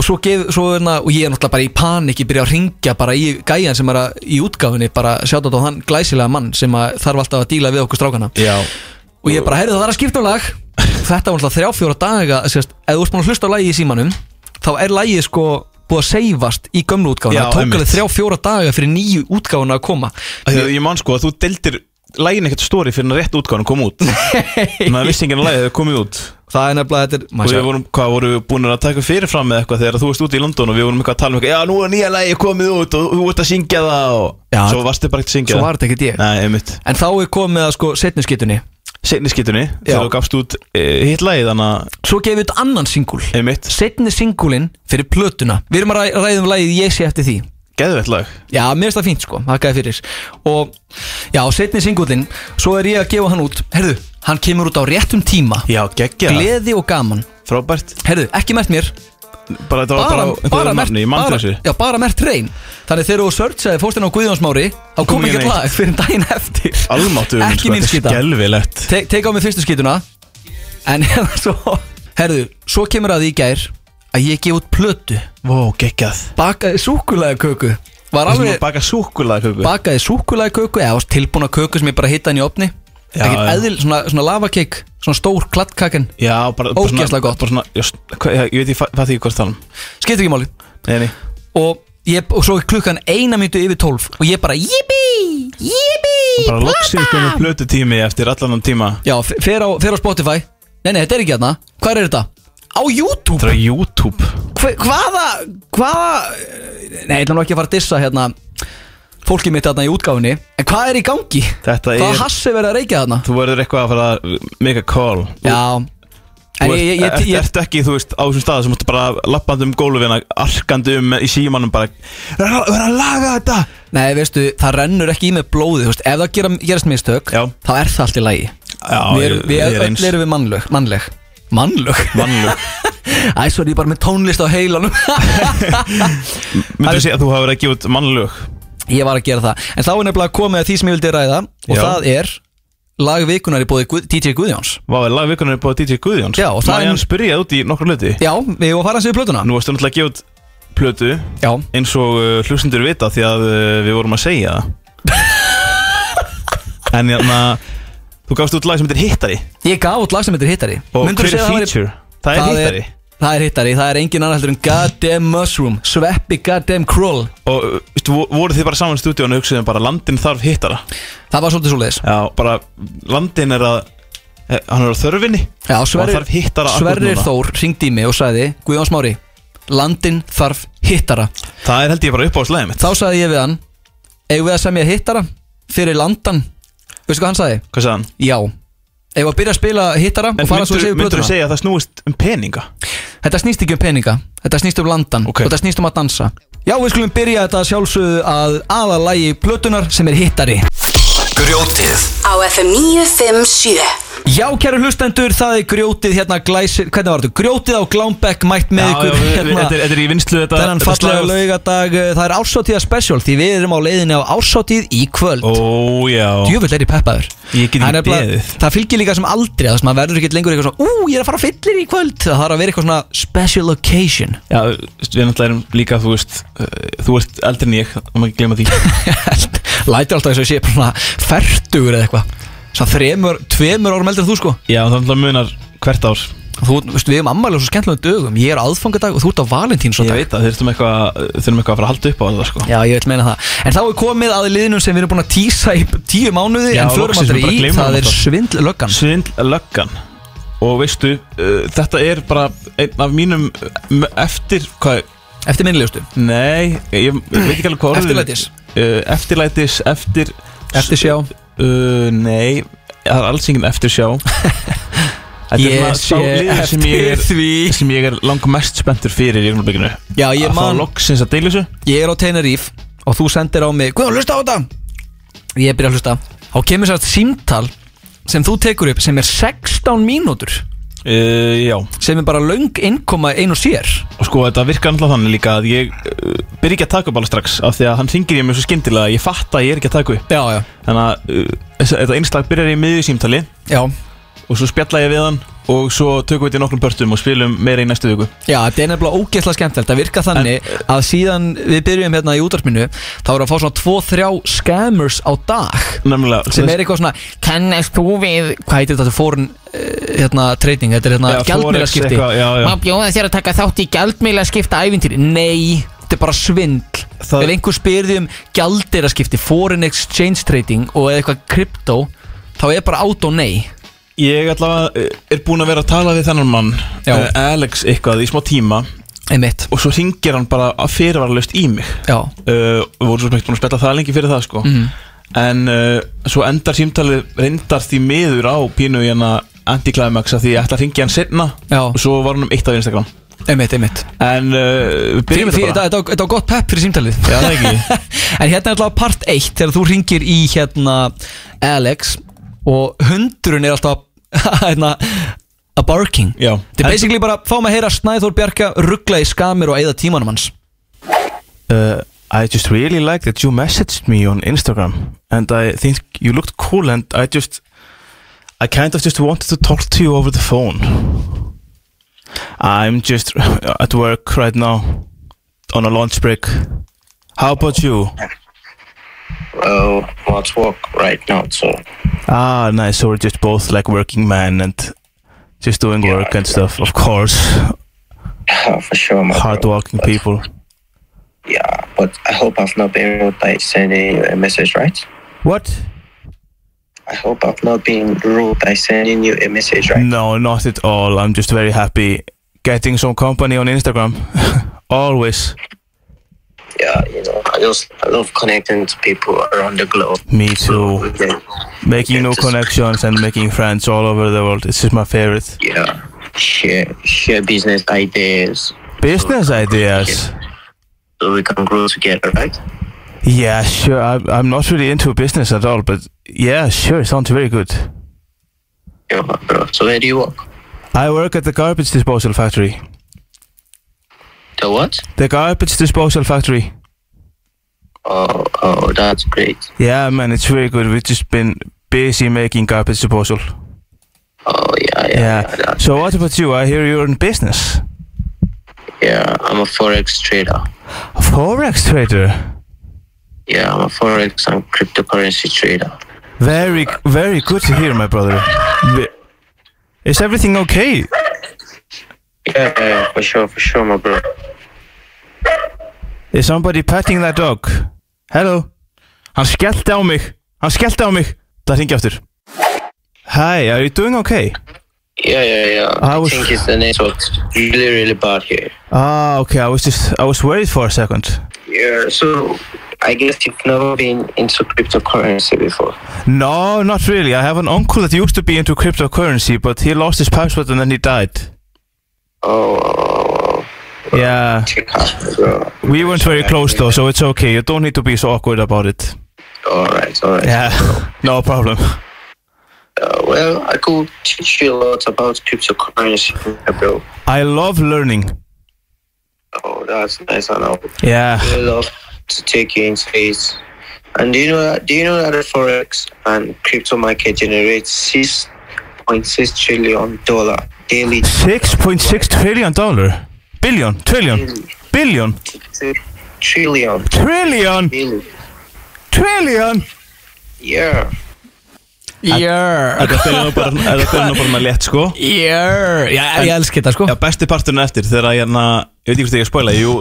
Speaker 1: og svo, gef, svo er hérna, og ég er náttúrulega bara í panik ég byrja að ringja bara í gæjan sem er að, í útgáfinni, bara sjátt á hann glæsilega mann sem að þarf alltaf að díla við okkur strákana
Speaker 2: Já
Speaker 1: og ég bara, heyrðu það er að skipta um lag þetta var náttúrulega þrjá fjóra daga sérst, ef þú ert búin að hlusta á lagið í símanum þá er lagið sko búið að seifast í gömlu útgáfuna,
Speaker 2: Já,
Speaker 1: það tók
Speaker 2: einmitt.
Speaker 1: alveg þrjá fjóra daga fyrir nýju útgáfuna að koma
Speaker 2: Af því að Ég man sko að þú deildir lægin ekkert stóri fyrir en rétt útgáðan kom út Þannig að vissi enginn að lægið hefur komið út
Speaker 1: það er nefnilega, þetta er,
Speaker 2: Og
Speaker 1: maður
Speaker 2: við
Speaker 1: sér
Speaker 2: vorum, hvað, vorum við búin að taka fyrirfram með eitthvað þegar þú veist úti í London og við vorum eitthvað að tala um eitthvað Já, nú er nýja lægi komið út og þú ert að syngja það og
Speaker 1: Já.
Speaker 2: Svo varstu bara ekkert að syngja
Speaker 1: svo var þetta ekkert ég,
Speaker 2: Nei, einmitt
Speaker 1: en þá er komið að sko setni skitunni,
Speaker 2: Seinni skýtunni, þegar þú gafst út e, hitt lægi þannig að
Speaker 1: svo gefið þetta annan singul
Speaker 2: Einmitt,
Speaker 1: setni singulinn fyrir plötuna við erum að ræ- ræða um lagið ég sé eftir því
Speaker 2: geðveitt lag
Speaker 1: Já, mér finnst það fínt sko, þakkaði fyrir Og já, setni singullin Svo er ég að gefa hann út Herðu, hann kemur út á réttum tíma
Speaker 2: Já, geggja
Speaker 1: Gleði og gaman
Speaker 2: Frábært
Speaker 1: Herðu, ekki mert mér
Speaker 2: Bara þetta var
Speaker 1: Bara,
Speaker 2: bara,
Speaker 1: bara, bara, mert,
Speaker 2: nafni, ég mann
Speaker 1: bara,
Speaker 2: þessu
Speaker 1: já, bara mert reyn Þannig þegar þú searchaði fórstinn á Guðjónsmári Þá kom
Speaker 2: Kom
Speaker 1: ekki
Speaker 2: ekki neitt.
Speaker 1: lag fyrir daginn eftir
Speaker 2: Almáttu
Speaker 1: Ekki mín skita
Speaker 2: Skelvilegt
Speaker 1: Te Teka á mig fyrstu skituna En hérna svo Herðu, svo kemur að því í gær Að ég gef út plötu
Speaker 2: Vó, geggjað
Speaker 1: Bakaði súkulega köku
Speaker 2: Það
Speaker 1: Var
Speaker 2: sem að
Speaker 1: alveg
Speaker 2: baka súkulæðköku
Speaker 1: bakaði súkulæði köku eða tilbúna köku sem ég bara hitta hann í opni
Speaker 2: Já,
Speaker 1: ekkert
Speaker 2: já.
Speaker 1: eðil, svona, svona lavakeik svona stór kladdkakan,
Speaker 2: Já, bara bara svona-
Speaker 1: Ógeðslega gott.
Speaker 2: bara svona, just, hva, Ég veit, ég fa- fatt ekki hvað það er
Speaker 1: skiptir ekki máli
Speaker 2: Nei, nei
Speaker 1: og, ég, og svo er klukkan eina myndu yfir tólf og ég bara jippi, jippi
Speaker 2: Bara loksins komið plötu tími eftir allan þann tíma
Speaker 1: já, f- fer á, fer á Spotify nei, nei, þetta er ekki hérna, hvað er þetta? á YouTube,
Speaker 2: Það er á YouTube
Speaker 1: Hva, hvaða hvaða, nei, ég ætla nú ekki að fara að dissa hérna, fólkið mitt hérna í útgáfinni en hvað er í gangi?
Speaker 2: Þetta
Speaker 1: hvað
Speaker 2: er
Speaker 1: hassi verið að reykja þarna?
Speaker 2: Þú verður eitthvað að fara að make a call
Speaker 1: já, en
Speaker 2: Þú
Speaker 1: ég, ég, ég,
Speaker 2: ert-
Speaker 1: ég
Speaker 2: ert ekki, þú veist, á þessum staðu sem múttu bara lappandi um gólfina, arkandi um í símanum bara Verður að- verður að laga þetta
Speaker 1: Nei, veistu, það rennur ekki í með blóði þú veist, Ef það gera, gerast mistök,
Speaker 2: Já.
Speaker 1: þá er það allt í lagi
Speaker 2: Já,
Speaker 1: Við, erum, við
Speaker 2: ég er eins
Speaker 1: öll erum við mannleg Mannleg? Mannleg?
Speaker 2: Mannleg.
Speaker 1: Æ, svo er ég bara með tónlist á heilanum
Speaker 2: Myndu að segja að þú hafa verið að gefa út mannlög
Speaker 1: Ég var að gera það En þá er nefnilega komið að því sem ég vildi ræða Og
Speaker 2: Já.
Speaker 1: það er lag vikunar í bóði Guð, DJ Guðjóns
Speaker 2: Vá, er lagvikunar er búið DJ Guðjóns
Speaker 1: Já, og það
Speaker 2: Má
Speaker 1: er-
Speaker 2: ég hann spyrjað út í nokkru hluti
Speaker 1: Já, við varum að fara hans við plötuna
Speaker 2: Nú varstu náttúrulega að gefa út plötu
Speaker 1: Já,
Speaker 2: eins og uh, hlustendur vita því að uh, við vorum að segja það En hérna Þú gafst út lag sem heitir Hittari
Speaker 1: ég gaf út lag sem heitir Hittari
Speaker 2: Og
Speaker 1: Myndirðu
Speaker 2: hver er
Speaker 1: segja að það væri-
Speaker 2: feature? Það er
Speaker 1: það
Speaker 2: Hittari
Speaker 1: Það er hittari, það er engin annar heldur en Goddamn Mushroom, Sveppi Goddamn Krull
Speaker 2: Og uh, veistu, vo- voruð þið bara saman í stúdíónu og hugsaðum bara landin þarf hittara
Speaker 1: Það var svolítið svoleiðis
Speaker 2: Já, bara landin er að eh, Hann er á þörfinni
Speaker 1: Já, Sverrir,
Speaker 2: þarf hittara akkur
Speaker 1: Sverrir
Speaker 2: núna.
Speaker 1: Þór ringdi í mig og sagði Guðjón Smári, landin þarf hittara
Speaker 2: Það er held ég bara upp á slæðið mitt
Speaker 1: Þá sagði ég við hann Eigum við að semja hittara fyrir landan Veistu hvað hann sagði?
Speaker 2: Hvað sagði hann?
Speaker 1: Já Eigum við að byrja að spila hittara
Speaker 2: En
Speaker 1: og fara svo að
Speaker 2: myndur,
Speaker 1: segja við
Speaker 2: myndur
Speaker 1: blötuna
Speaker 2: segja að það snúist um peninga?
Speaker 1: Þetta snýst ekki um peninga Þetta snýst um landan
Speaker 2: Ok.
Speaker 1: og þetta snýst um að dansa Já, við skulum byrja þetta að sjálfsögðu að aðalægi plötunar sem er hittari
Speaker 12: Grjótið
Speaker 7: Á FM 957
Speaker 1: Já, kæru hlustendur, það er grjótið hérna glæsir Hvernig var þetta? Grjótið á Glámbekk mætt með ykkur
Speaker 2: við- við-
Speaker 1: hérna.
Speaker 2: þetta er- þetta er í vinslu þetta
Speaker 1: Þennan
Speaker 2: þetta
Speaker 1: fallega
Speaker 2: slagorð.
Speaker 1: laugadag Það er ársáttíða special Því við erum á leiðinni á ársáttíð í kvöld oh.
Speaker 2: Ó, já
Speaker 1: Djöfull er í peppaður
Speaker 2: Ég get
Speaker 1: Það er
Speaker 2: ekki
Speaker 1: nefnilega-
Speaker 2: beðið.
Speaker 1: Það fylgir líka sem aldrei Það sem maður verður ekkert lengur eitthvað svona Ú, ég er að fara á fyllir í kvöld Það þarf að vera eitthvað svona special occasion
Speaker 2: Já, þú veist, við náttúrulega erum líka, þú veist, uh, þú ert eldri en ég, þá má ekki glemma því.
Speaker 1: Lætir alltaf eins og ég sé bara svona Fertugur eða eitthvað Svona þremur, tveimur árum eldur þú sko
Speaker 2: Já, það náttúrulega munar hvert ár.
Speaker 1: Þú, veistu, Við erum ammælega svo skemmtilega dögum Ég er á aðfangadag og þú ert á
Speaker 2: Ég
Speaker 1: valentínsdag
Speaker 2: veit að þurfum eitthvað, þurfum eitthvað að fara að halda upp á það, sko.
Speaker 1: Já, ég vil meina það En þá er komið að liðnum sem við erum búin að tísa í tíu mánuði
Speaker 2: Já,
Speaker 1: En förum
Speaker 2: loksins,
Speaker 1: aldrei
Speaker 2: við bara
Speaker 1: í,
Speaker 2: gleymum
Speaker 1: það er
Speaker 2: alltaf.
Speaker 1: svindlöggan
Speaker 2: Svindl löggan. Og veistu, uh, þetta er bara einn af mínum uh, eftir, hvað,
Speaker 1: Eftir minnlegustu
Speaker 2: nei, ég, ég veit ekki alveg hvað orðið-
Speaker 1: Eftirlætis.
Speaker 2: Uh, eftirlætis, eftir,
Speaker 1: Eftir sjá
Speaker 2: uh, nei, það er alls enginn eftir sjá. Þetta
Speaker 1: Ég
Speaker 2: er
Speaker 1: sé
Speaker 2: svona sá liður sem ég
Speaker 1: eftir
Speaker 2: er,
Speaker 1: því
Speaker 2: sem ég er langmest spenntur fyrir í rúnarbygginu.
Speaker 1: Já, ég
Speaker 2: að fá
Speaker 1: man,
Speaker 2: loksins að deila þessu
Speaker 1: ég er á Teneríf Og þú sendir á mig Guðan, hlusta á þetta Ég byrja að hlusta Þá kemur sér símtal sem þú tekur upp sem er 16 mínútur
Speaker 2: uh, Já,
Speaker 1: sem er bara löng innkoma ein og sér
Speaker 2: og sko þetta virkar alltaf þannig líka að ég uh, byrja ekki að taka upp alveg strax af því að hann ringir ég mjög svo skyndilega að ég fatt að eh, ég er ekki að taka upp
Speaker 1: Já, já,
Speaker 2: þannig að uh, þess- þetta einstak byrjar í miðju símtali
Speaker 1: já,
Speaker 2: og svo spjalla ég við hann og svo tökum við þetta í nokkrum pörtum og spilum meira í næstu viku
Speaker 1: Já, þetta er nefnilega ógeðslega skemmtilegt Það virka þannig að síðan við byrjum hérna í útarpinu Þá erum við að fá svona 2-3 scammers á dag
Speaker 2: Nefnilega
Speaker 1: Sem er eitthvað svona Kannast þú við Hvað heitir þetta fórn hérna, treyning Þetta er hérna
Speaker 2: Já, Forex
Speaker 1: gjaldmiðlaskipti
Speaker 2: eitthvað, já, já.
Speaker 1: Má bjóða þér að taka þátt í gjaldmiðlaskipta ævintýri Nei, þetta er bara svindl
Speaker 2: Það-
Speaker 1: Ef einhver spyrir því um gjaldmiðlaskipti Foreign exchange trading Og eða eitthvað krypto Þá er bara át og nei
Speaker 2: Ég allavega eh, er búinn að vera að tala við þennan mann
Speaker 1: Já.
Speaker 2: eh, Alex eitthvað í smá tíma
Speaker 1: Einmitt
Speaker 2: og svo ringir hann bara að fyrirvaralaust í mig
Speaker 1: Já,
Speaker 2: uh, við vorum svo smegt búin að spjalla það lengi fyrir það sko. en uh, svo endar símtalið reyndar því miður á pínu í hana anti-climax að því ég ætla að ringi hann setna
Speaker 1: Já.
Speaker 2: og svo var hann um eitt af Instagram
Speaker 1: einmitt, einmitt
Speaker 2: en uh, við byrjum
Speaker 1: Fyrir, fyrir,
Speaker 2: þetta bara
Speaker 1: þetta, þetta, var- þetta var gott pepp fyrir símtalið
Speaker 2: Já, það ekki.
Speaker 1: En hérna er alltaf part 1 Þegar þú ringir í hérna Alex Og hundurinn er alltaf að- hérna, að barking
Speaker 2: Já.
Speaker 1: Þetta er basically bara Fáum að heyra Snæþór Bjarka ruggla í skamir og eigða tímanum hans
Speaker 2: Uh, I just really like that you messaged me on Instagram and I think you looked cool and I just I kind of just wanted to talk to you over the phone. I'm just at work right now on a lunch break. How about you?
Speaker 12: Oh, let's walk right now. So
Speaker 2: Ah, nice. So we're just both like working men and just doing work and stuff. Of course,
Speaker 12: uh, for sure, my
Speaker 2: hard
Speaker 12: bro.
Speaker 2: working people.
Speaker 12: Yeah, but I hope I've not been rude by sending you a message, right?
Speaker 2: What?
Speaker 12: I hope I've not been rude by sending you a message, right?
Speaker 2: No, not at all. I'm just very happy getting some company on Instagram. Always.
Speaker 12: Yeah, you know, I just I love connecting to people around the globe.
Speaker 2: Me too.
Speaker 12: Okay.
Speaker 2: Making new
Speaker 12: Just-
Speaker 2: connections and making friends all over the world. It's just my favorite.
Speaker 12: Yeah, share share business ideas
Speaker 2: Business ideas.
Speaker 12: so we can grow together, right?
Speaker 2: Yeah, sure. I, I'm not really into business at all, but yeah, sure. Sounds very good.
Speaker 12: Yeah, my bro. So where do you work?
Speaker 2: I work at the garbage disposal factory.
Speaker 12: The what?
Speaker 2: The garbage disposal factory.
Speaker 12: Oh, oh, that's great.
Speaker 2: Yeah, man, it's very good. We've just been busy making garbage disposal.
Speaker 12: Oh yeah, yeah, yeah.
Speaker 2: Yeah.
Speaker 12: that's-
Speaker 2: So what about you? I hear you're in business.
Speaker 12: yeah, I'm a forex trader.
Speaker 2: Forex trader.
Speaker 12: Yeah, I'm a forex and cryptocurrency trader.
Speaker 2: Very, very good to hear, my brother. Ve- Is everything okay?
Speaker 12: Yeah, yeah, for sure, for sure, my bro.
Speaker 2: Is somebody petting that dog? Hello? Hann skellti á mig. Hann skellti á mig. Það ringi aftur. Hi, are you doing okay?
Speaker 12: Yeah, yeah, yeah.
Speaker 2: I
Speaker 12: I,
Speaker 2: was-
Speaker 12: think it's the network's really, really bad here.
Speaker 2: Ah, okay. I was just, I was worried for a second.
Speaker 12: Yeah, so I guess you've never been into cryptocurrency before.
Speaker 2: No, not really. I have an uncle that used to be into cryptocurrency, but he lost his password and then he died.
Speaker 12: Oh,
Speaker 2: Yeah.
Speaker 12: check out, bro.
Speaker 2: We weren't very close though, so it's okay. You don't need to be so awkward about it.
Speaker 12: All right, all right.
Speaker 2: Yeah. No problem.
Speaker 12: Uh, well, I could teach you a lot about cryptocurrency, bro.
Speaker 2: I love learning.
Speaker 12: Oh, that's nice. I know.
Speaker 2: Yeah.
Speaker 12: I love to take you into it. And do you know that? Do you know that the forex and crypto market generates six point six trillion dollar daily?
Speaker 2: Six point six trillion dollar. Billion. Trillion. Billion.
Speaker 12: Trillion.
Speaker 2: Trillion.
Speaker 12: daily.
Speaker 2: Trillion.
Speaker 12: Yeah.
Speaker 1: Jörr
Speaker 2: Þetta fyrir nú bara, þetta fyrir nú bara með létt sko
Speaker 1: Jörr Já, ég elsk þetta sko
Speaker 2: Já, besti parturinn eftir þegar að hérna Ég veit ekki hvort ég er að spoila, jú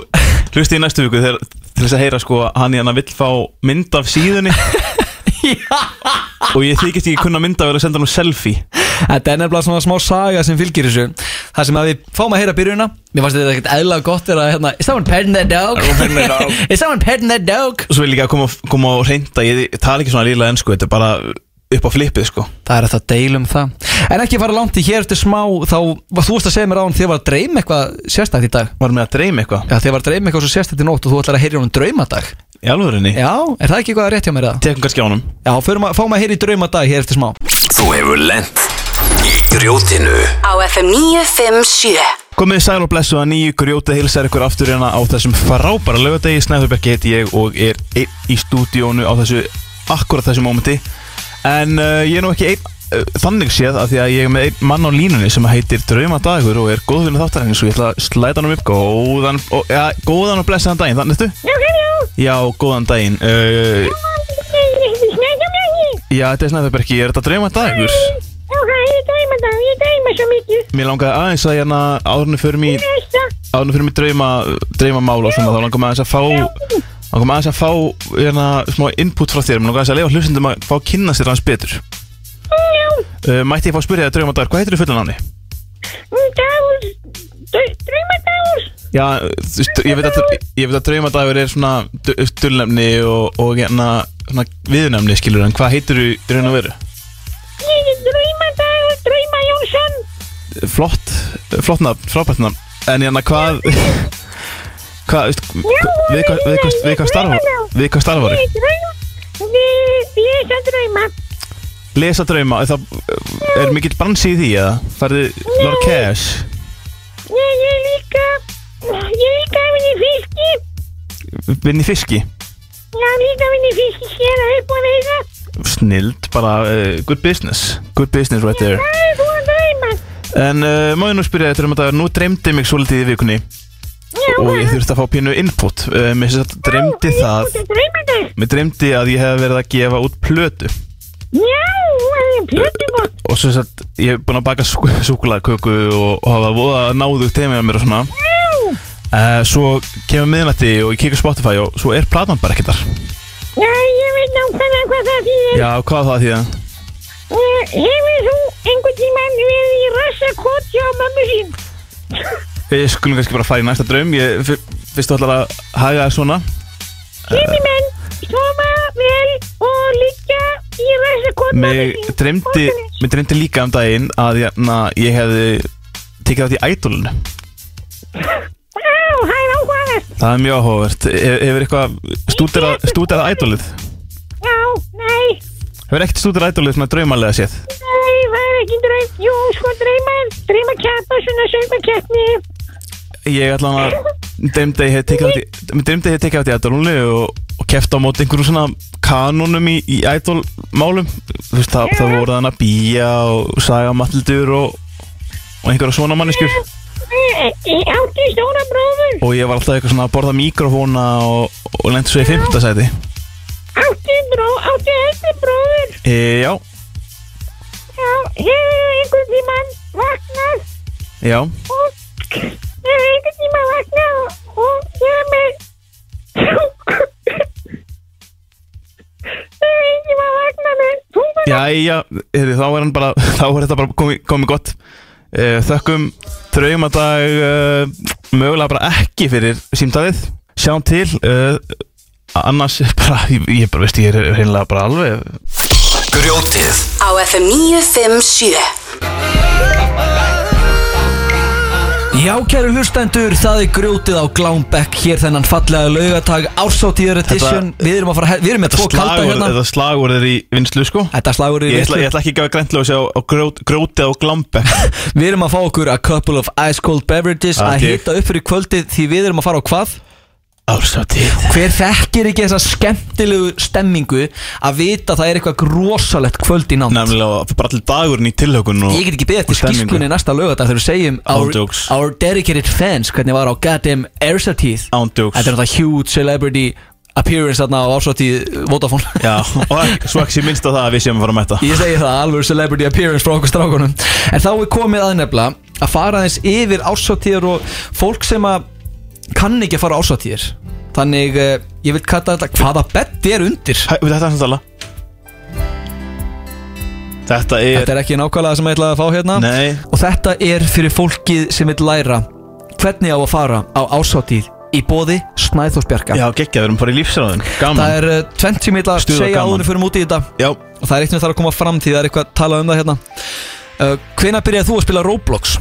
Speaker 2: Hlusti í næstu viku þegar til þess að heyra sko að Hann hérna vill fá mynd af síðunni Og ég þykist ekki kunna mynda að vera að senda hann selfie
Speaker 1: Þetta er nefnilega svona smá saga sem fylgir þessu Það sem að við fáum að heyra byrjunna Mér fannst þetta ekkert eðla gott þegar að hérna Is someone petting that dog? Is someone petting that dog?
Speaker 2: Og svo vil ég líka koma, koma og reynda Ég tala ekki svona líla enn sko, þetta er bara upp á flippið sko
Speaker 1: Það er hægt að deilum það En ekki fara langt í hér eftir smá Þá var þú varst að segja mér á hann þér var að dreyma eitthvað sérstakt í dag
Speaker 2: Var með að dreyma eitthvað
Speaker 1: Já þér var að dreyma eitthvað svo sérstakt í nótt og þú ætlar að heyra honum draumadag
Speaker 2: Í alvörinni
Speaker 1: Já, er það ekki eitthvað rétt hjá mér það?
Speaker 2: Tekum kannski ánum
Speaker 1: Já, förum að, fáum að heyra í draumadag hér eftir smá
Speaker 12: Þú hefur lent í grjótinu.
Speaker 7: Á FM 957
Speaker 2: Komið sæl og blessu að nýju grjóta hilsar ykkur aftur hérna á þessum frábæra lögadegi Snæðurbergi heiti ég og er einn í stúdíónu á þessu akkurat þessu mómenti En uh, ég er nú ekki einn uh, þannig séð að því að ég er með einn mann á línunni sem heitir Draumadagur og er góðvinni þáttarins og ég ætla að slæta hann upp góðan og, ja, góðan og blessaðan daginn, þannig ertu? Já, góðan daginn uh, Já, þetta er Snæðabergi, er þetta Draumadagur? Mér langaði aðeins að hérna árunni fyrir mér árunni fyrir mér drauma, drauma og svona, þá langaði aðeins að fá langaði aðeins að fá hérna, smá input frá þér, mér langaði aðeins að lefa hlustundum að fá að kynna sér hans betur Uh, mætti ég fá að spyrja þér draumadagur, hvað heitir þú fullan áni? Mm, Dagur, draumadagur Já, þú veist, ég veit að, ég veit að draumadagur er svona du- dulnefni og, og hérna, svona viðnefni skilur en hvað heitir þú raun og veru? Ég er draumadagur, drauma Jónsson Flott, flott nafn, frábært nafn En hérna hvað, hvað, veist, við hvað, við hvað, við hvað starfa, við hvað starfa þér? lesa drauma er, það, er mikill bransi í því eða? Færðu Lord Cash? Ég er líka ég er líka að vinni fiski Vinni fiski? Já, líka að vinni fiski sér að upp og veiða Snild, bara uh, good business good business right there En uh, má ég nú spyrja þetta um að nú dreymdi mig svolítið í vikunni og ég þurfti að fá pínu input uh, Mér sem sagt dreymdi það Mér dreymdi að ég hef verið að gefa út plötu og svo sett, ég hef búin að baka súkulaðköku og, og hafa voða náðu teimið að mér og svona uh, svo kemur miðnætti og ég kikar Spotify og svo er platan bara ekkert þar Já, ég veit nákvæmlega hvað það þýðir Já, hvað það þýðir? Uh, hefur þú einhvern tímann verið í rassakot hjá mömmu sín? Við skulum kannski bara fara í næsta draum ég, fyr- Fyrst þú ætlar að haga það svona Mig dreymdi, mig dreymdi líka um daginn að jæna, ég hefði tekið þátt í ædolinu Það er mjög áhugavert He- Hefur eitthvað stúderað stúdera ædolið? Já, nei Hefur ekkert stúderað ædolið svona draumalega séð? sko, Ég ætla hann að dreymdi að ég hef tekið þátt í mig dreymdi að ég hef tekið þátt í ædolinu og, og keft á móti einhverjum svona kanónum í, í ædolmálum Þú veist, það, það voru þannig að bíja og saga matildur og, og einhverja svona manneskjur e, og ég var alltaf eitthvað svona að borða mikrofóna og, og lendi svo í fimmta sæti Átti bró, átti eldri bróður e, Já Já, ég hef einhvern tímann vaknað Já Ég hef einhvern tímann vaknað og ég hef með Jæja, heyrðu, þá er hann bara, þá er þetta bara komið komi gott uh, Þökkum draumadag uh, mögulega bara ekki fyrir símtalið Sjáum til uh, Annars, bara, ég, ég bara veist, ég er hreinlega bara alveg
Speaker 13: Grjótið
Speaker 7: á FM 957
Speaker 1: Já, kæru hlustendur, það er grjótið á Glámbekk hér þennan fallega laugatag ársáttíður edition Við erum að fara, við erum með tvo kalda
Speaker 2: Slagorð-
Speaker 1: hérna
Speaker 2: Þetta slagur er í vinslu sko
Speaker 1: Þetta slagur í
Speaker 2: Ég ætla,
Speaker 1: vinslu.
Speaker 2: ég ætla ekki að gefa græntlósi á, á grót, grótið og glambek
Speaker 1: Við erum að fá okkur a couple of ice cold beverages
Speaker 2: Ah,
Speaker 1: að
Speaker 2: ég-
Speaker 1: hita upp fyrir kvöldið því við erum að fara á hvað?
Speaker 2: Ársáttíð
Speaker 1: Hver þekkir ekki þessa skemmtilegu stemmingu að vita að það er eitthvað rosalegt kvöld í nátt
Speaker 2: Nefnilega bara allir dagurinn í tilhökun og
Speaker 1: Ég get ekki beðið eftir
Speaker 2: og stemmingu.
Speaker 1: skýrklunni næsta lögadag þegar við segjum
Speaker 2: Án
Speaker 1: our,
Speaker 2: jokes.
Speaker 1: our dedicated fans hvernig var á goddamn Airsateeth
Speaker 2: Án jokes.
Speaker 1: Þetta er náttúrulega huge celebrity appearance þarna á ársáttíð Vodafone
Speaker 2: Já, og ekki- svo ekki sé minnst á það að við séum að fara að mæta
Speaker 1: Ég segi það, alveg celebrity appearance frá okkur strákunum En þá er komið að nefnilega að fara aðeins yfir ársáttíðar og fólk sem að kann ekki að fara á ársáttíðar Þannig, eh, ég vil kalla þetta hvaða betti er undir
Speaker 2: Hæ, Þetta er samtala Þetta er,
Speaker 1: Þetta er ekki nákvæmlega það sem ég ætlaði að fá hérna
Speaker 2: Nei,
Speaker 1: Og þetta er fyrir fólkið sem vil læra hvernig á að fara á ársáttíð í bóði Snæðósbjarka
Speaker 2: já geggja, við erum bara í lífsráðin Gaman
Speaker 1: Það er eh, tvennt sem ég ætla að
Speaker 2: Stuð og
Speaker 1: segja
Speaker 2: gaman.
Speaker 1: áðunni fyrir múti í þetta
Speaker 2: Já,
Speaker 1: og það er eitt sem þarf að koma fram því það er eitthvað að tala um það hérna uh, Hvenær byrjaði þú að spila Roblox?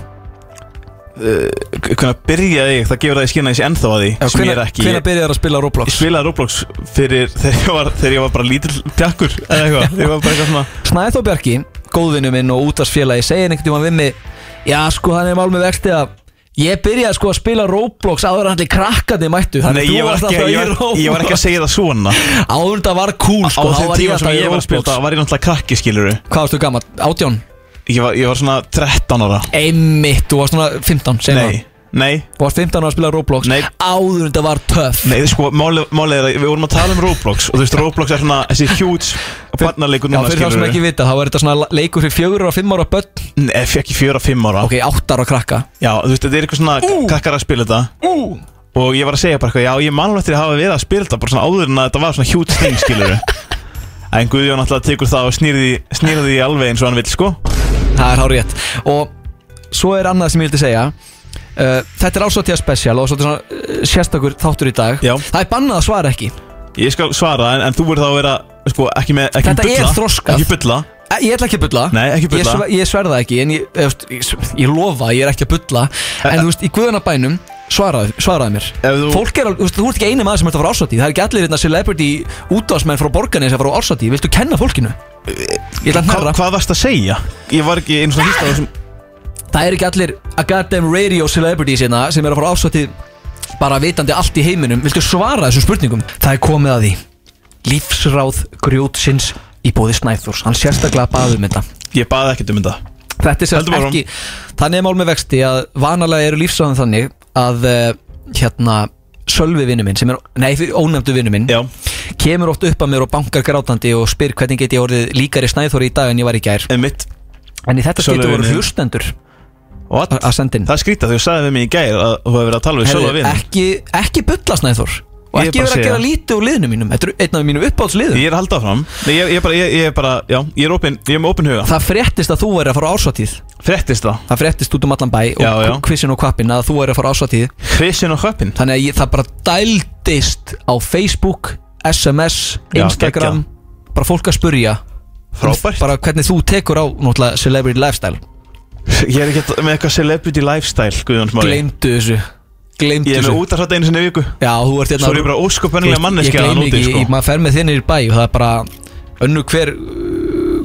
Speaker 2: hvernig byrjaði ég, það gefur það í skynna eins ennþá að því sem ég er ekki
Speaker 1: Eh, Hvenær byrjaði það að spila
Speaker 2: Ég
Speaker 1: Roblox?
Speaker 2: spilaði Roblox fyrir þegar ég var, þegar ég var bara lítill tjakkur eða eitthvað, þegar ég var bara eitthvað svona
Speaker 1: Snæðþó Bjarki, góðvinnu minn og útvarsfélagi segir einhvern tíma við mig Já sko hann er mál með vexti að Ég byrjaði sko að spila Roblox áður en allir krakkandi mættu
Speaker 2: Nei,
Speaker 1: Þannig
Speaker 2: ég var, ekki, ég, var, ég var ekki að segja það svona
Speaker 1: Áður það var cool
Speaker 2: Á
Speaker 1: sko þá
Speaker 2: þeim
Speaker 1: var ég
Speaker 2: tíma sem
Speaker 1: alltaf í
Speaker 2: ég var að spila
Speaker 1: Roblox
Speaker 2: þetta var ég náttúrulega krakki, skilur
Speaker 1: Hvað varstu gammal? 18?
Speaker 2: Ég var, ég var svona 13 ára
Speaker 1: Einmitt, þú varst svona 15 segjum
Speaker 2: Nei, nei,
Speaker 1: það. Þú varst 15 ára að spila Roblox
Speaker 2: Nei.
Speaker 1: Áður en það var töff
Speaker 2: nei, sko, málið máli er að við vorum að tala um Roblox Og þú veist, Roblox er svona þessi huge barnarleikur
Speaker 1: Já,
Speaker 2: núna,
Speaker 1: fyrir þá sem
Speaker 2: skilur
Speaker 1: ekki vita, þá er þetta svona leikur fyrir fjögur og fimm ára börn
Speaker 2: Nei, fekk ég fjöra, fimm ára
Speaker 1: Ok, áttar og krakka
Speaker 2: Já, þú veist, þetta er eitthvað svona krakkar að spila þetta Og ég var að segja bara eitthvað, já, ég man alveg eftir að hafa verið að spila þetta Bara svona áður en að þetta var svona huge thing, skilur En Guðjón alltaf tekur það og snýrði, snýrði því alveg eins og hann vil, sko
Speaker 1: Það er hár rétt Og svo er annað sem ég vildi segja uh, Þetta er ásváttíða spesial og svolítið svona uh, sérstakur þáttur í dag
Speaker 2: Já.
Speaker 1: Það er bannað að svara ekki
Speaker 2: Ég skal svara, en, en þú verður þá að vera, sko, ekki með, ekki
Speaker 1: Þetta
Speaker 2: bulla
Speaker 1: er þroskað.
Speaker 2: Ekki bulla
Speaker 1: Eh, Ég ætla ekki að bulla
Speaker 2: Nei, ekki bulla.
Speaker 1: Ég, sver, ég sverða ekki, en ég, eh, þú veist, ég, s- ég lofa að Ég er ekki að bulla En þú veist, í guðanabænum svaraði, svaraði mér
Speaker 2: Eh, Ef þú-
Speaker 1: Fólk er, alveg- þú veist, þú ert ekki eini maður sem ert að fara ársati Það er ekki allir hérna celebrity útvarsmenn frá borgarni sem fara á ársati Viltu kenna fólkinu? Ég ætla að
Speaker 2: Hva,
Speaker 1: hnerra
Speaker 2: Hvað varst að segja? Ég var ekki einu svona hýsta á þessum
Speaker 1: Það er ekki allir að goddamn radio celebrities hérna sem er að fara ásvætti bara vitandi allt í heiminum Viltu svara þessum spurningum? Það er komið að því Lífsráð grjótsins í bóði Snæþórs Hann sérstaklega baðum þetta
Speaker 2: Ég baði ekkert um þetta
Speaker 1: Þetta
Speaker 2: Höldum
Speaker 1: er sérst
Speaker 2: áfram.
Speaker 1: ekki Þannig er mál með vexti að vanalega eru lífsráðan þannig að eh, hérna Sölvi vinnu minn sem er, nei, ónefndu vinnu minn
Speaker 2: Já,
Speaker 1: kemur oft upp að mér og bankar grátandi og spyr hvernig get ég orðið líkari Snæþóri í dag en ég var í gær
Speaker 2: einmitt
Speaker 1: En í þetta
Speaker 2: Sölvi
Speaker 1: skipti voru
Speaker 2: vinur.
Speaker 1: hlustendur
Speaker 2: What?
Speaker 1: að senda inn
Speaker 2: Það skrýta þú sagði við mig í gær að þú hefur verið að tala við Sölva
Speaker 1: Mm. Herðu,
Speaker 2: vin
Speaker 1: ekki, ekki bulla Snæþór og
Speaker 2: Ég er bara að
Speaker 1: ekki vera að
Speaker 2: segja.
Speaker 1: gera lítið úr liðinu mínum þetta er einn af mínum uppáhaldsliðum
Speaker 2: Ég er að halda áfram Nei, ég, ég, er bara, ég, ég er bara, já, ég er opin, ég er með opin huga
Speaker 1: það fréttist að þú væri að fara á ásatíð
Speaker 2: Frettist það
Speaker 1: það fréttist út um allan bæ og
Speaker 2: Já, já.
Speaker 1: kvissin og kvappin að þú væri að fara á ásatíð
Speaker 2: Hvissin og höppin
Speaker 1: þannig að ég, það bara dældist á Facebook, SMS,
Speaker 2: Já,
Speaker 1: Instagram bara fólk að spurja
Speaker 2: Frábært
Speaker 1: bara hvernig þú tekur á náttúrulega celebrity lifestyle
Speaker 2: Ég er ekki með eitthvað celebrity lifestyle, Guðjón Smári
Speaker 1: gleymdu þessu gleymdu
Speaker 2: Ég er með
Speaker 1: þessu
Speaker 2: út að hræta einu sinni í viku
Speaker 1: já, þú ert
Speaker 2: Svo er ég bara ósköpennilega
Speaker 1: Þú veist,
Speaker 2: manneskja
Speaker 1: Ég
Speaker 2: að
Speaker 1: gleymi
Speaker 2: núti,
Speaker 1: ekki,
Speaker 2: sko
Speaker 1: ég- maður fer með þinn í bæ og það er bara önnu hver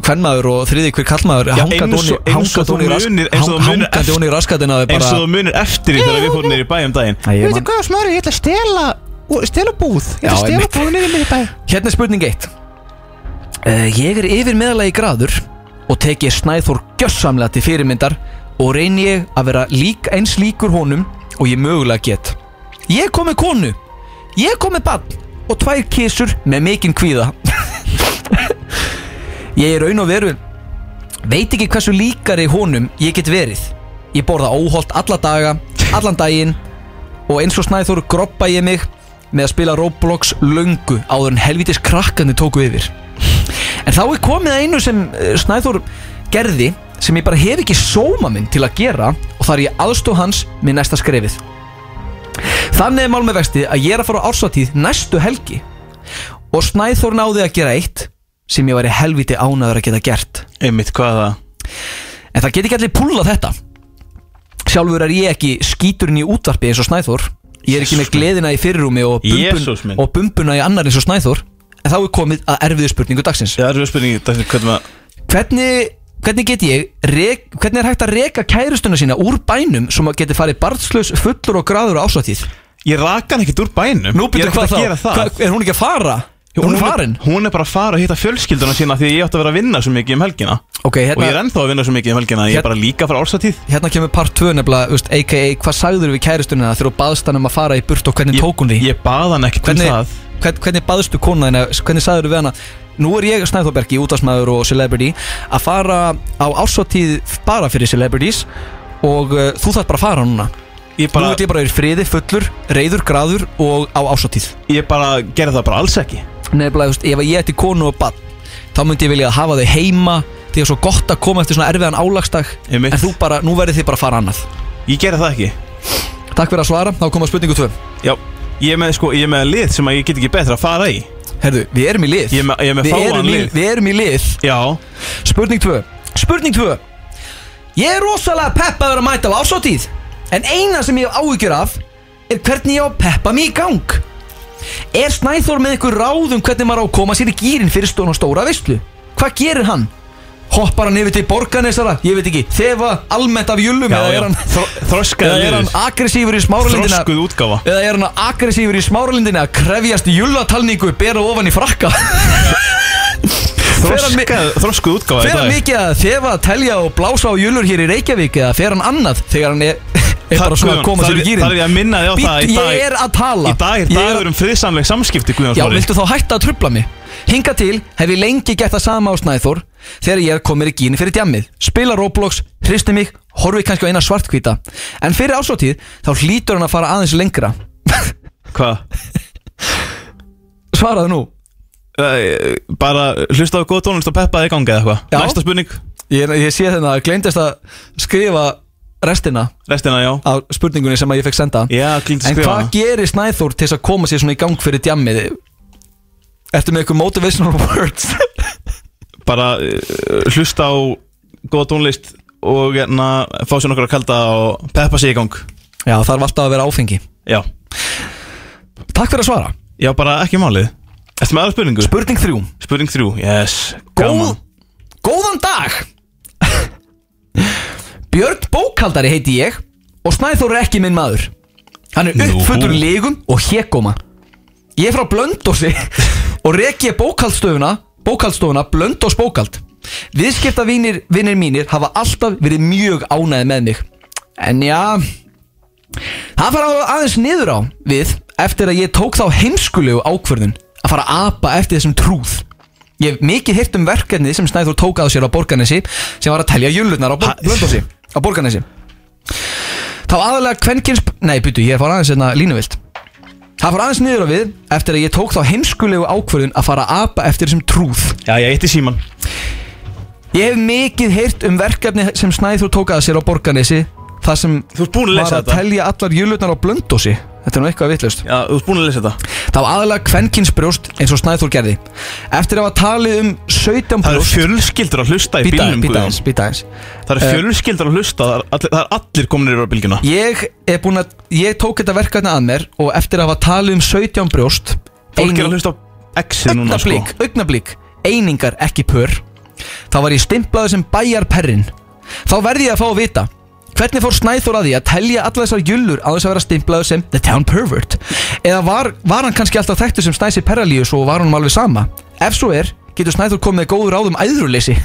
Speaker 1: hvernmaður og þriði hver kallmaður
Speaker 2: Já, eins
Speaker 1: hangandi
Speaker 2: og-
Speaker 1: ofan í-
Speaker 2: eins og
Speaker 1: hangandi
Speaker 2: þú
Speaker 1: ofan í rass-
Speaker 2: munir- eins og þú
Speaker 1: hang-
Speaker 2: munir
Speaker 1: hangandi
Speaker 2: eftir-
Speaker 1: ofan í raskatina og
Speaker 2: Eins og þú
Speaker 1: bara
Speaker 2: munir eftir í þegar við fórum niður í bæ um daginn
Speaker 1: Æ, ég man-
Speaker 14: hvað smári, ég ætla að stela Stela búð,
Speaker 1: Ég ætla að stela
Speaker 14: búð niður mér í bæ
Speaker 1: Hérna er spurning eitt uh, Ég er yfir meðalagi graður og tek ég Snæþór gjössamlega til fyrirmyndar og reyni ég að vera lík eins líkur honum og ég mögulega get Ég kom með konu Ég kom með bann og tvær kísur með mikinn kvíða Ég er raun og veru Veit ekki hversu líkari honum ég get verið Ég borða óholt alla daga, allan daginn Og eins og Snæþór groppa ég mig Með að spila Roblox löngu Áður en helvitis krakkandi tóku yfir En þá er komið að einu sem eh, Snæþór gerði Sem ég bara hef ekki sóma minn til að gera Og þar ég aðstóð hans með næsta skrefið Þannig er mál með vexti að ég er að fara á ársatíð næstu helgi Og Snæþór náði að gera eitt Sem ég væri helviti ánæður að geta gert
Speaker 2: Einmitt, hvað er það?
Speaker 1: En það get ekki allir púla þetta Sjálfur er ég ekki skíturinn í útvarpi eins og Snæþór Ég er ekki með gleðina í fyrirrúmi og,
Speaker 2: Jesús
Speaker 1: bumbun,
Speaker 2: minn.
Speaker 1: og bumbuna í annar eins og Snæþór En þá er komið að erfiðu spurningu dagsins
Speaker 2: Já, það er spurning, það er hvernig maður
Speaker 1: Hvernig, hvernig get ég rek, Hvernig er hægt að reka kærustuna sína úr bænum Svo maður geti farið barnslaus fullur og gráður á ásatíð
Speaker 2: Ég raka hann ekkert úr bænum
Speaker 1: Nú
Speaker 2: Ég er
Speaker 1: byrju
Speaker 2: ekkert
Speaker 1: hvað
Speaker 2: að
Speaker 1: þá
Speaker 2: gera það.
Speaker 1: Hva, Er hún ekki að fara? er hún farin?
Speaker 2: Hún er bara að fara að hitta fjölskylduna sína Því að ég átti að vera að vinna svo mikið um helgina
Speaker 1: Ok,
Speaker 2: Og ég er
Speaker 1: hérna,
Speaker 2: ennþá að vinna svo mikið um helgina Ég
Speaker 1: Hér-
Speaker 2: er bara líka frá ársatíð
Speaker 1: hérna kemur part 2 nefnilega þú veist, A.k.a. hvað sagður við kærustunina þegar þú baðst hann um að fara í burt og hvernig
Speaker 2: Ég,
Speaker 1: tók hún því
Speaker 2: ég bað hann ekkert um
Speaker 1: hvernig,
Speaker 2: það
Speaker 1: hvern, hvernig baðstu kona þína hvernig sagður við hana nú er ég Snæþórbergi, útastmaður og celebrity að fara á ársóttíð bara fyrir celebrities og uh, þú þarf bara að fara núna
Speaker 2: Ég
Speaker 1: nú
Speaker 2: bara,
Speaker 1: vil ég bara verið friði, fullur, reyður, graður og á ársóttíð
Speaker 2: ég bara gerði það bara alls ekki
Speaker 1: nefnilega, þú veist, ef ég ætti konu og bann þá myndi ég vilja að hafa þau heima því að svo gott að koma eftir svona erfiðan álagsdag
Speaker 2: Einmitt.
Speaker 1: en þú bara, nú verðið þið bara að fara annað
Speaker 2: Ég gerði það ekki
Speaker 1: Takk fyrir að svara, þá koma spurningu 2
Speaker 2: Já, ég er með, sko, ég er með lið sem að ég get ekki betra að fara í
Speaker 1: Herðu, við erum í lið
Speaker 2: Ég er með, ég er með
Speaker 1: við,
Speaker 2: fáan
Speaker 1: erum í,
Speaker 2: lið
Speaker 1: við erum í lið
Speaker 2: Já,
Speaker 1: Spurning 2 Spurning 2 Ég er rosalega peppaður að mæta á ásóttíð En eina sem ég hef áhyggjur af Er hvernig ég á að peppa mig í gang Er Snæþór með ykkur ráð um hvernig maður á að koma sér í gýrin fyrir stón og stóra veistlu? Hvað gerir hann? hoppar hann yfir til borganesara ég veit ekki, þefa almennt af júlum
Speaker 2: Já,
Speaker 1: eða
Speaker 2: já.
Speaker 1: er hann,
Speaker 2: Þro- þroskaður
Speaker 1: eða er hann
Speaker 2: liður.
Speaker 1: aggressífur í smáralindina
Speaker 2: Þroskuð útgáfa.
Speaker 1: eða er hann aggressífur í smáralindina að krefjast júlatalningu bera ofan í frakka Fer hann mi-
Speaker 2: Þroskað- Þroskuð útgáfa í
Speaker 1: fer hann
Speaker 2: dag
Speaker 1: mikið að þefa, telja og blása á júlur hér í Reykjavík eða fer hann annað þegar hann er, er
Speaker 2: Það-
Speaker 1: bara svona
Speaker 2: Guðjón,
Speaker 1: að koma
Speaker 2: þar
Speaker 1: sér
Speaker 2: er-
Speaker 1: í gýrin
Speaker 2: þar er ég að minna þig á það í dag-
Speaker 1: ég er að tala
Speaker 2: Í dag er
Speaker 1: Ég
Speaker 2: dagur um friðsamleg samskipti Guðjón
Speaker 1: Já,
Speaker 2: Smári.
Speaker 1: viltu þá hætta að trubla mig? Hinga til hef ég lengi gert það sama á Snæþór þegar ég kom mér í gíni fyrir djammið. Spila Roblox, hristi mig, horfi kannski á eina svartkvíta. En fyrir áslóttíð þá hlýtur hann að fara aðeins lengra.
Speaker 2: Hvað?
Speaker 1: Svaraðu nú.
Speaker 2: Eh, Bara hlusta á góð tónlist og peppaði í gangi eða
Speaker 1: Já.
Speaker 2: eitthvað Næsta spurning
Speaker 1: Ég, ég sé þetta að gleymdist að skrifa restina
Speaker 2: Restina, já
Speaker 1: á spurningunni sem að ég fekk senda.
Speaker 2: Já, glýndi
Speaker 1: en
Speaker 2: skrifa
Speaker 1: hvað
Speaker 2: hana
Speaker 1: gerir Snæþór til þess að koma sér svona í gang fyrir djammið? Ertu með eitthvað motivational words?
Speaker 2: Bara eh, hlusta á góð tónlist og hérna fá sér nokkur að kalda og peppa sér í gang
Speaker 1: Já, það er alltaf að vera áfengi.
Speaker 2: Já,
Speaker 1: Takk fyrir að svara.
Speaker 2: já bara ekki málið Ertu með aðra spurningu?
Speaker 1: Spurning 3.
Speaker 2: Spurning þrjú, yes
Speaker 1: Góð, góðan dag Björn Bókaldari heiti ég og Snæþór er ekki minn maður Hann er
Speaker 2: Nú.
Speaker 1: uppfullur lígum og hégóma Ég er frá Blöndósi og reki ég bókaldstöfuna bókaldstofuna Blöndós bókald Viðskiptavinir vinir mínir hafa alltaf verið mjög ánæði með mig En já, það fara aðeins niður á við eftir að ég tók þá heimskulegu ákvörðun að fara að apa eftir þessum trúð Ég hef mikið hýrt um verkefnið sem Snæður tók að sér á Borgarnesi sem var að telja júlurnar á Bor-
Speaker 2: Ha-
Speaker 1: Blönduósi á Borgarnesi Þá aðalega kvenkins Nei, byttu, ég fór aðeins hérna línuvilt Það fór aðeins niður á við eftir að ég tók þá heimskulegu ákvörðun að fara að apa eftir þessum trúð
Speaker 2: Já, ég eitti síman
Speaker 1: Ég hef mikið heyrt um verkefni sem Snæður tók að sér á Borgarnesi Það sem
Speaker 2: Þú ert búin að
Speaker 1: var
Speaker 2: lesa
Speaker 1: að
Speaker 2: þetta
Speaker 1: telja allar júlurnar á Blöndósi Þetta er nú eitthvað vitlaust
Speaker 2: Já, þú ert búin að lesa þetta
Speaker 1: Það var aðalega kvenkinsbrjóst eins og Snæður gerði Eftir að hafa talið um 17
Speaker 2: Það eru
Speaker 1: brjóst
Speaker 2: fjölskyldur að hlusta í
Speaker 1: Býta
Speaker 2: bílnum
Speaker 1: býta
Speaker 2: Guðjón.
Speaker 1: aðeins, býta aðeins
Speaker 2: Það eru fjölskyldur að hlusta Það er allir, það er allir kominir yfir á bylgjuna
Speaker 1: Ég er búinn að Ég tók þetta verkefni að mér Og eftir að hafa talið um 17 brjóst
Speaker 2: Fólk er að
Speaker 1: eining-
Speaker 2: hlusta á X-ið núna sko
Speaker 1: Augnablík, augnablík Einingar ekki pör Þá var ég stimplaður sem bæjarperrin Þá verði ég að fá að vita Hvernig fór Snæþór að því að telja alla þessar jullur á þess að vera stimplaður sem The Town Pervert? Eða var, var hann kannski alltaf þekktur sem Snæsi Perralíus og var honum alveg sama? Ef svo er, getur Snæþór komið með góður áðum æðruleysi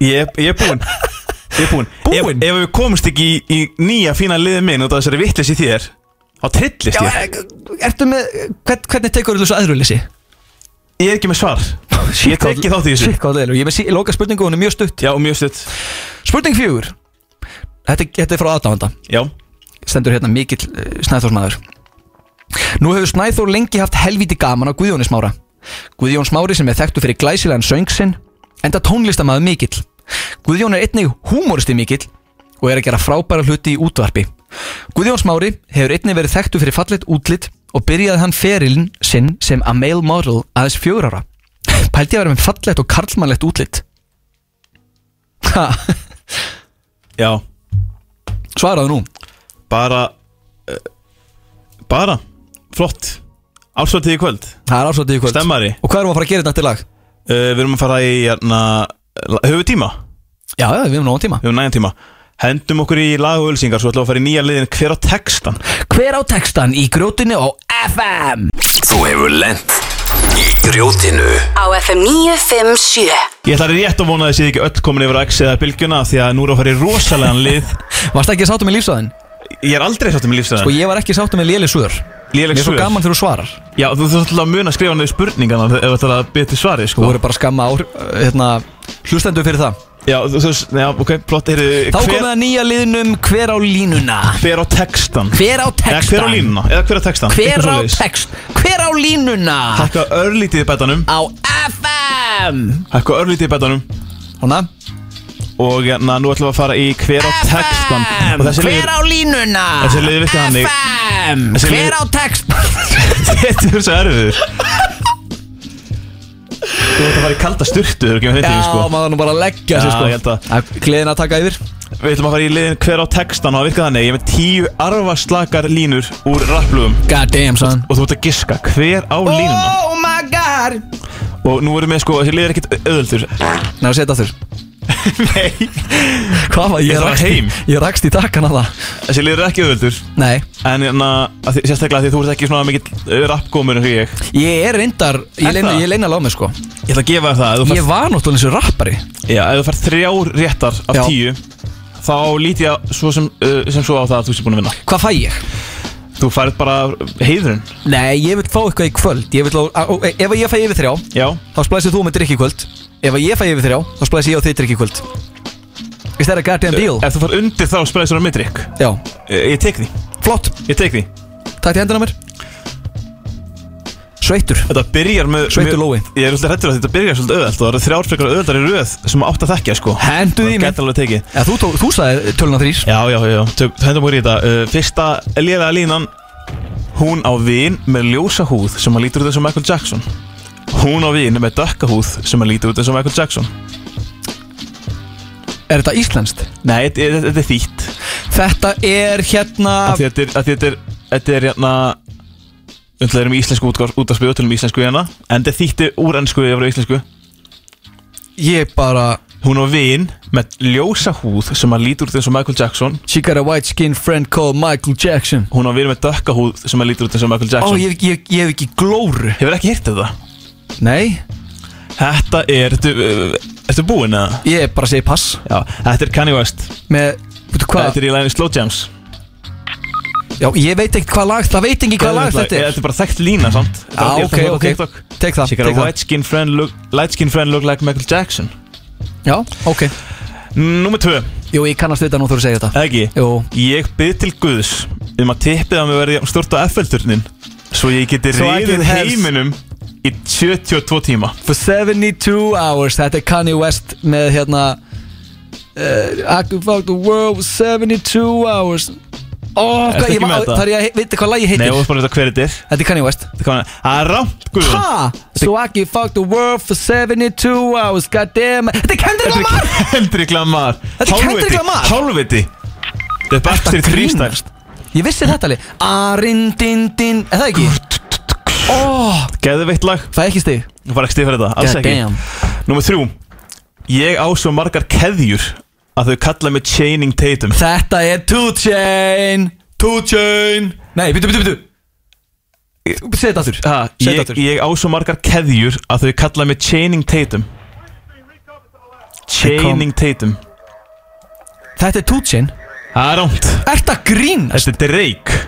Speaker 2: Ég, ég er búinn Ég er búinn Ef,
Speaker 1: Búinn?
Speaker 2: ef við komumst ekki í, í nýja fína liðið minn út af þessari vittlis í þér Þá trillist ég
Speaker 1: eh, Ertu með, hvern, hvernig tekur þú þessu æðruleysi?
Speaker 2: Ég er ekki með svar Ég tek ekki þátt í þessu
Speaker 1: Sitt hvað það er, ég er með sí, loka spurningu og hún er mjög stutt
Speaker 2: Já, mjög stutt
Speaker 1: Spurning fjögur Þetta, þetta er frá aðdáðanda
Speaker 2: Já
Speaker 1: Stendur hérna mikill uh, Snæþórsmaður Nú hefur Snæþór lengi haft helvíti gaman á Guðjóni Smára Guðjón Smári sem er þekktu fyrir glæsilegan söng sinn Enda tónlistamaður mikill Guðjón er einnig húmóristi mikill Og er að gera frábæra hluti í útvarpi Guðjón Smári hefur einnig verið þekktu fyrir fallet útlit Og byrjaði hann ferilinn sinn sem a male model aðeins fjögur ára Pældi að vera með fallett og karlmannlegt útlit Ha,
Speaker 2: Já
Speaker 1: svaraðu nú
Speaker 2: Bara uh, Bara Flott Álsvartíð í kvöld
Speaker 1: Það er ásvöldið í kvöld
Speaker 2: Stemmari
Speaker 1: Og hvað erum við að fara að gera þetta eftir lag?
Speaker 2: uh, Við erum að fara í hérna, Höfu tíma
Speaker 1: Já, já, við hefum nógan tíma
Speaker 2: Við erum nægum tíma Hendum okkur í lag og ölsingar Svo ætlum við að fara í nýja liðin Hver á textan
Speaker 1: Hver á textan í grjótinu á FM?
Speaker 13: Þú hefur lent í grjótinu
Speaker 7: á FM 957
Speaker 2: Ég ætla rétt að vona að þið séð ekki öll komin yfir á X eða bylgjuna af því að nú er að fara í rosalegan lið
Speaker 1: Varst ekki sáttu með lífsæðin?
Speaker 2: Ég er aldrei sáttum í
Speaker 1: Sko
Speaker 2: lífstæðan
Speaker 1: ég var ekki sáttu með léli svör
Speaker 2: Léleg
Speaker 1: Mér er svo
Speaker 2: svör.
Speaker 1: gaman þegar þú svarar Þú
Speaker 2: Já, þú þarf alltaf að muna að skrifa niður spurningana ef þú ætlar að byrja til svari sko.
Speaker 1: voru bara að skamma á, hérna, hlustendur fyrir það
Speaker 2: Já, þú veist, já, ok, plott er
Speaker 1: Þá komið
Speaker 2: hver,
Speaker 1: að nýja liðnum Hver á línuna?
Speaker 2: hver á textan
Speaker 1: Hver á
Speaker 2: Eða hver á
Speaker 1: textan?
Speaker 2: línuna, eða hver á textan
Speaker 1: Hver á text? Hver á línuna?
Speaker 2: Hækka örlítið í betanum
Speaker 1: Á FM
Speaker 2: Hækka örlítið í betanum
Speaker 1: Hona?
Speaker 2: Og na, nú ætlum við að fara í hver á textan Og þessi
Speaker 1: Hver
Speaker 2: liður
Speaker 1: á línuna?
Speaker 2: Þessi liður virkar þannig.
Speaker 1: FM
Speaker 2: Þessi
Speaker 1: Hver
Speaker 2: liður-
Speaker 1: á textan?
Speaker 2: Þetta er svo erfiður Þú ætlum að fara í kalda styrtu, þú erum ekki með þetta í sko
Speaker 1: Já, maður nú bara að leggja sig
Speaker 2: Já,
Speaker 1: sko
Speaker 2: ég held að-
Speaker 1: Gleðin að taka yfir
Speaker 2: Við ætlum að fara í liðin hver á textan og það virka þannig Ég er með tíu arfaslakar línur úr rapplugum
Speaker 1: God damn son
Speaker 2: Og þú ert að giska hver á línuna
Speaker 1: Oh my god
Speaker 14: Star
Speaker 2: Og nú erum við sko, þessi lið er ekkert auðvöldur
Speaker 1: Nei, að setja aftur
Speaker 2: Nei
Speaker 1: Hvað var,
Speaker 2: Ég
Speaker 1: ég
Speaker 2: þarf að
Speaker 1: rakst í,
Speaker 2: heim.
Speaker 1: ég rakst í takkan að það
Speaker 2: Þessi lið er ekki auðvöldur
Speaker 1: Nei,
Speaker 2: En hérna, að því- sérstaklega því þú ert ekki svona mikill eh, rappgómur en ég
Speaker 1: ég er reyndar, ég
Speaker 2: Er
Speaker 1: leina,
Speaker 2: það?
Speaker 1: ég leina lámið sko
Speaker 2: Ég ætla að gefa þér það ef þú
Speaker 1: Ég var náttúrulega eins og rappari
Speaker 2: færð- Já, ef þú færð þrjár réttar af
Speaker 1: Já.
Speaker 2: tíu Þá lít ég að- svo sem, uh, sem svo á það að þú sé búin að vinna
Speaker 1: Hvað fæ ég?
Speaker 2: Þú færð bara heiðurinn
Speaker 1: Nei, ég vil fá eitthvað í kvöld Ég vil, á, á, á- Ef ég fæ yfir þrjá,
Speaker 2: Já,
Speaker 1: þá splæsir þú með drikk í kvöld Ef ég fæ yfir þrjá, þá splæsir ég og þið drikk í kvöld Is that a goddamn deal?
Speaker 2: ef þú færð undir þá spæðis þú á midrykk
Speaker 1: Já,
Speaker 2: Ég tek því,
Speaker 1: flott,
Speaker 2: ég tek því
Speaker 1: takk til hendina á mér Sveitur
Speaker 2: Þetta byrjar með með-
Speaker 1: Sveittur Lói.
Speaker 2: Ég er alltaf hrættur að þetta byrjar svolítið auðvelt og það eru þrjár frekar auðveldar í röð sem átt að þekkja sko
Speaker 1: Hendu því
Speaker 2: Það
Speaker 1: mér
Speaker 2: gæti alveg tekið
Speaker 1: ja, Þú, tó- þú sagði töluna þrýr
Speaker 2: Já, já, já, tök, hendum úr í þetta uh, Fyrsta liðlega línan Hún á vin með ljósa húð sem að lítur út eins og Michael Jackson Hún á vin með dökka húð sem að lítur út eins og Michael Jackson
Speaker 1: Er þetta íslenskt?
Speaker 2: Nei, þetta er- þetta er þýtt
Speaker 1: Þetta er hérna
Speaker 2: Af því að Þetta er, af því að þetta er, þetta er hérna Þetta erum í um íslensku útgarsbyrðu, tölum í íslensku hérna En þetta er þýtti úr ennsku yfir á íslensku
Speaker 1: Ég bara
Speaker 2: Hún á vin með ljósa húð sem að lítur út eins og Michael Jackson
Speaker 1: She got a white skin friend called Michael Jackson
Speaker 2: Hún á vin með dökka húð sem að lítur út eins og Michael
Speaker 1: Ó,
Speaker 2: Jackson
Speaker 1: ég, ég, ég hef ekki glóru
Speaker 2: Hefur ekki hirt þetta?
Speaker 1: Nei,
Speaker 2: Þetta er, ertu, uh, ertu búinn eða?
Speaker 1: ég bara segi pass
Speaker 2: Já, þetta er Kanye West
Speaker 1: Með, veitu hvað
Speaker 2: Þetta er í læginu Slow Jams
Speaker 1: Já, ég veit ekkert hvað lag, það veit ekki hvað lag
Speaker 2: Þetta
Speaker 1: þetta
Speaker 2: er- Ah,
Speaker 1: er
Speaker 2: þetta er bara þekkt lína samt
Speaker 1: Já, ok, ok, tek það,
Speaker 2: She got a
Speaker 1: tek það
Speaker 2: white skin friend look, light skin friend look like Michael Jackson
Speaker 1: Já, ok
Speaker 2: Númer 2,
Speaker 1: Jú, ég kannast við þetta nú þú eru að segja þetta
Speaker 2: ekki
Speaker 1: Jú,
Speaker 2: Ég byrð til Guðs um að tippið að mér verði stort á FL-turnin Svo ég geti
Speaker 1: So I
Speaker 2: reyðið
Speaker 1: can have-
Speaker 2: heiminum í 72 tíma
Speaker 1: for 72 hours Þetta er Kanye West með hérna uh, I could fuck the world for 72 hours Ó,
Speaker 2: Ertu
Speaker 1: hvað,
Speaker 2: ekki
Speaker 1: ég
Speaker 2: með
Speaker 1: var,
Speaker 2: þetta?
Speaker 1: þar ég veit hvað lagi
Speaker 2: Nei,
Speaker 1: heitir
Speaker 2: og bara þetta hver þetta er
Speaker 1: Þetta er Kanye West
Speaker 2: Þetta er hvað- Það er rámt, Guðrún
Speaker 1: Ha? So I can fuck the world for 72 hours God damn Þetta er Kendrick
Speaker 2: Þetta
Speaker 1: Lamar
Speaker 2: er Kendrick Lamar
Speaker 1: Þetta er
Speaker 2: Hálfviti,
Speaker 1: Kendrick Lamar.
Speaker 2: Hálfviti Þetta er Backstreet
Speaker 1: Þetta
Speaker 2: Freestyle
Speaker 1: grínast. Ég vissi þetta alveg Arindindin Er það ekki? Ó,
Speaker 2: Geðveitt lag
Speaker 1: það er ekki stig
Speaker 2: Ég var ekki stið fyrir þetta Alls
Speaker 1: God
Speaker 2: ekki
Speaker 1: damn.
Speaker 2: Númer þrjú Ég á svo margar keðjur Að þau kalla mig Chaining Tatum
Speaker 1: Þetta er 2Chain 2Chain Nei, byttu, byttu, byttu Segð þetta aftur
Speaker 2: ha, ég,
Speaker 1: Segð þetta aftur
Speaker 2: ég á svo margar keðjur Að þau kalla mig Chaining Tatum Chaining Tatum
Speaker 1: Þetta er 2Chain
Speaker 2: Það er rámt
Speaker 1: Er það grínast?
Speaker 2: Þetta er Drake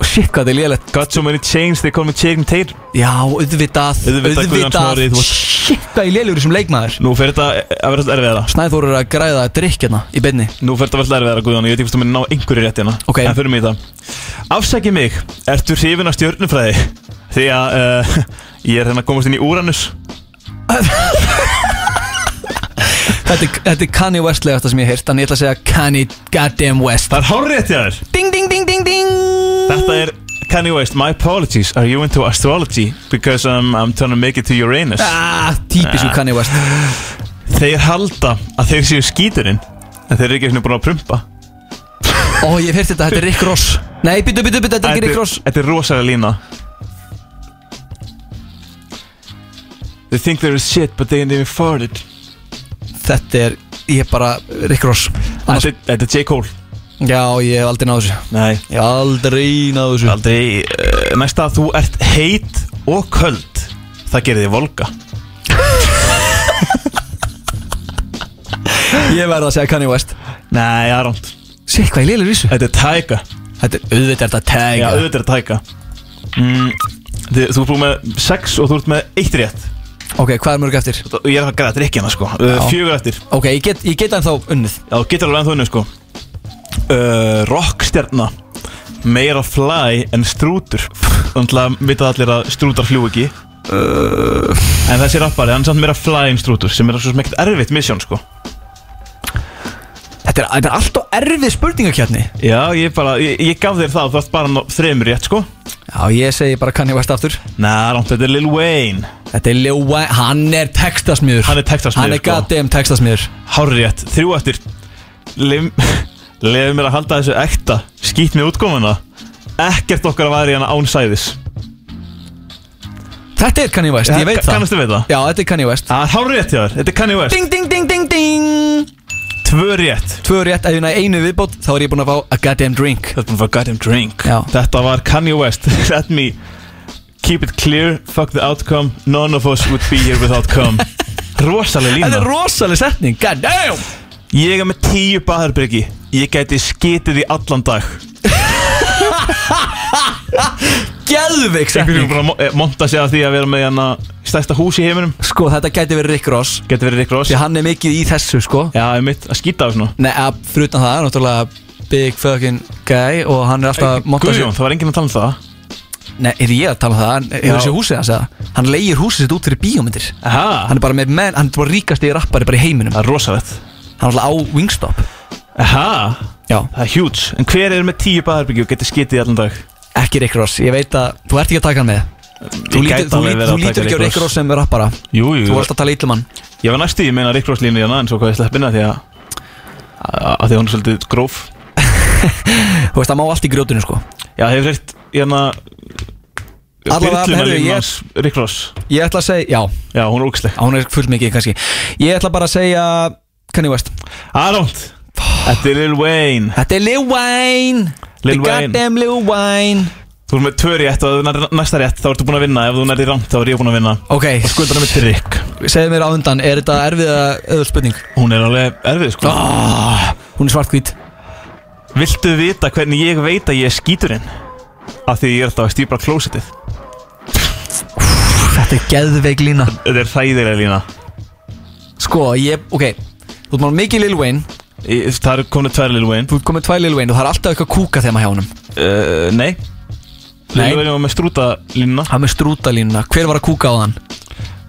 Speaker 1: Shit, hvað þetta er lélegt
Speaker 2: Got so many chains They call me Chaining Tatum
Speaker 1: Já, auðvitað
Speaker 2: Auðvitað, Guðjón Smári, þú varst-
Speaker 1: Shit, hvað ég lélegur sem leikmaður
Speaker 2: Nú fer þetta eh, að vera alltaf erfiðara
Speaker 1: Snæður er að græða að drikkjana í beinni
Speaker 2: Nú fer þetta að vera alltaf erfiðara Guðjón Ég veit ekki hvort þú mér ná einhverju rétt hérna
Speaker 1: Ok.
Speaker 2: En fyrir mig í það Afsæki mig Ertu hrifin af stjörnufræði? Því að uh, Ég er hérna að komast inn í Uranus
Speaker 1: Þetta er, þetta er Kanye West legasta sem ég heirt Þannig ég ætla að segja Kanye goddamn West
Speaker 2: Það er hárrétt hjá þér
Speaker 1: Ding, ding, ding, ding, ding
Speaker 2: Þetta er Kanye West, my apologies, are you into astrology? Because um, I'm trying to make it to Uranus
Speaker 1: Ah, típisku Kanye West
Speaker 2: Þeir halda að þeir séu skíturinn En þeir eru ekki einu búin að prumpa
Speaker 1: Ó, ég hef heirt þetta, þetta er Rick Ross Nei, byttu, byttu, byttu, þetta er ekki Rick Ross
Speaker 2: Þetta er rosalega lína They think they're shit but they ain't even farted
Speaker 1: Þetta er, ég er bara Rick Ross Annars,
Speaker 2: Þetta er- þetta er J. Cole
Speaker 1: Já, ég hef aldrei náðu þessu
Speaker 2: Nei,
Speaker 1: Ég hef aldrei náðu þessu
Speaker 2: aldrei uh, Næsta að þú ert heit og köld Það gerir þig volga
Speaker 1: Ég verð að segja Kanye West
Speaker 2: Nei, það er rámt
Speaker 1: Sér hvað ég lélur í þessu
Speaker 2: Þetta er tæka
Speaker 1: Þetta er auðvitað er þetta tag
Speaker 2: Já, auðvitað er að tæka mm, þið, Þú ert búin með 6 og þú ert með 1 rétt
Speaker 1: Ok, hvað er mörg eftir?
Speaker 2: Þú- Ég er að græða drikkjana sko uh, Fjögur eftir Já,
Speaker 1: Ok, ég get, ég get hann þá unnið
Speaker 2: þú getur alveg ennþá unni sko uh, Rockstjarna Meira fly en strútur Þannig að vita allir að strútar fljú ekki En þessi rappari, hann er samt meira fly en strútur Sem er svo sem ekkert erfitt misjón sko
Speaker 1: Þetta er, þetta er alltaf erfið spurningakjarni
Speaker 2: Já, ég bara, ég, ég gaf þér það Þú ert bara að ná þremur rétt sko
Speaker 1: Já, ég segi bara Kanye West aftur
Speaker 2: Næ, rámt, þetta er Lil Wayne
Speaker 1: Þetta er Lil Wayne, hann er textasmiður
Speaker 2: Hann er textasmiður,
Speaker 1: Hann er
Speaker 2: sko.
Speaker 1: goddamn textasmiður
Speaker 2: Hárrétt, þrjú eftir Leif, Leif mér að halda þessu ekta Skýt mér útkomuna Ekkert okkar var í hana án sæðis
Speaker 1: Þetta er Kanye West, ég veit það
Speaker 2: Kannastu við það?
Speaker 1: Já, þetta er Kanye West
Speaker 2: Það er hár rétt hjá þér, þetta er Kanye West
Speaker 1: Ding, ding, ding, ding, ding
Speaker 2: Tvö rétt
Speaker 1: Tvö rétt, ef ég næ einu viðbót Þá er ég búinn að fá a goddamn drink
Speaker 2: Þetta er bara goddamn drink
Speaker 1: Já.
Speaker 2: Þetta var Kanye West Let me keep it clear Fuck the outcome None of us would be here without come Rosaleg
Speaker 1: Þetta
Speaker 2: lína
Speaker 1: er rosaleg setning, goddamn
Speaker 2: Ég er með tíu baðarbyrgi Ég gæti skitið í allan dag
Speaker 1: Gjöðvik
Speaker 2: Einhverjum
Speaker 1: setning
Speaker 2: bara mo- eh, monta sig af því að vera með hana Stærsta hús í heiminum
Speaker 1: Sko, þetta gæti verið Rick Ross
Speaker 2: Gæti verið Rick Ross
Speaker 1: Því hann er mikið í þessu, sko
Speaker 2: Já, ég mitt að skýta af svona
Speaker 1: Nei, að frutan það, náttúrulega Big fucking guy Og hann er alltaf að monta sig-
Speaker 2: Guðjón, það var enginn að tala um það
Speaker 1: Nei, er ég að tala um það? Hann hefur þessi húsið hans eða? Hann leigir húsið sitt út fyrir bíómyndir
Speaker 2: Aha,
Speaker 1: Hann er bara með menn, hann er bara ríkast í rappari bara í heiminum
Speaker 2: það er rosalegt
Speaker 1: Hann er alltaf á Wingstop
Speaker 2: Aha,
Speaker 1: Já,
Speaker 2: það er huge En hver er með tíu baðarbyrgi og gæti skitið í allan dag?
Speaker 1: ekki Rick Ross, ég veit að þú ert ekki að taka hann með Þú
Speaker 2: Ég
Speaker 1: lítur,
Speaker 2: gæti
Speaker 1: þú,
Speaker 2: alveg
Speaker 1: lítur,
Speaker 2: verið
Speaker 1: þú
Speaker 2: að
Speaker 1: lítur
Speaker 2: taka
Speaker 1: ekki á Rick Ross sem rappara
Speaker 2: Jú, jú,
Speaker 1: Þú varst að tala ítlum hann
Speaker 2: Ég var næstu í meina Rick Ross línu hérna en svo hvað ég slepp inn að því að að því að hún er svolítið gróf
Speaker 1: Þú veist, það má allt í grjótinu sko
Speaker 2: Já, það hefur hreitt hérna
Speaker 1: Allavega,
Speaker 2: Byrluna
Speaker 1: heyrðu, ég-
Speaker 2: línu hans Rick Ross
Speaker 1: Ég ætla að segja, já,
Speaker 2: Já, hún er ógisleg
Speaker 1: hún er fullt mikið kannski Ég ætla bara að segja Kanye West
Speaker 2: Arond Þetta er Lil Wayne
Speaker 1: Þetta er Lil Wayne
Speaker 2: Lil
Speaker 1: The
Speaker 2: Wayne.
Speaker 1: goddamn Lil Wayne
Speaker 2: Þú erum með tvö rétt og ef þú nærði næsta rétt þá ertu búin að vinna Ef þú nærði rangt þá er ég búin að vinna
Speaker 1: Ok,
Speaker 2: Og skuldar með til Rick
Speaker 1: segðu mér á undan, er þetta erfið að öðvöld spurning?
Speaker 2: Hún er alveg erfið sko
Speaker 1: Ah, hún er svartkvít
Speaker 2: Viltu vita hvernig ég veit að ég er skíturinn? Af því ég er alltaf að stýpa klósitið
Speaker 1: Þetta er geðveik lína
Speaker 2: Þetta er hræðilega lína
Speaker 1: Sko, ég, ok Þú ert maður mikið Lil Wayne
Speaker 2: Ég- Það eru komin tvær Lil Wayne
Speaker 1: Þú ert komið tvær Lil Wayne og það er alltaf eitthvað kúka þegar maður hjá honum
Speaker 2: uh, Nei
Speaker 1: Nei.
Speaker 2: Lil Wayne var með strúta línuna
Speaker 1: Hann með strúta línuna, hver var að kúka á hann?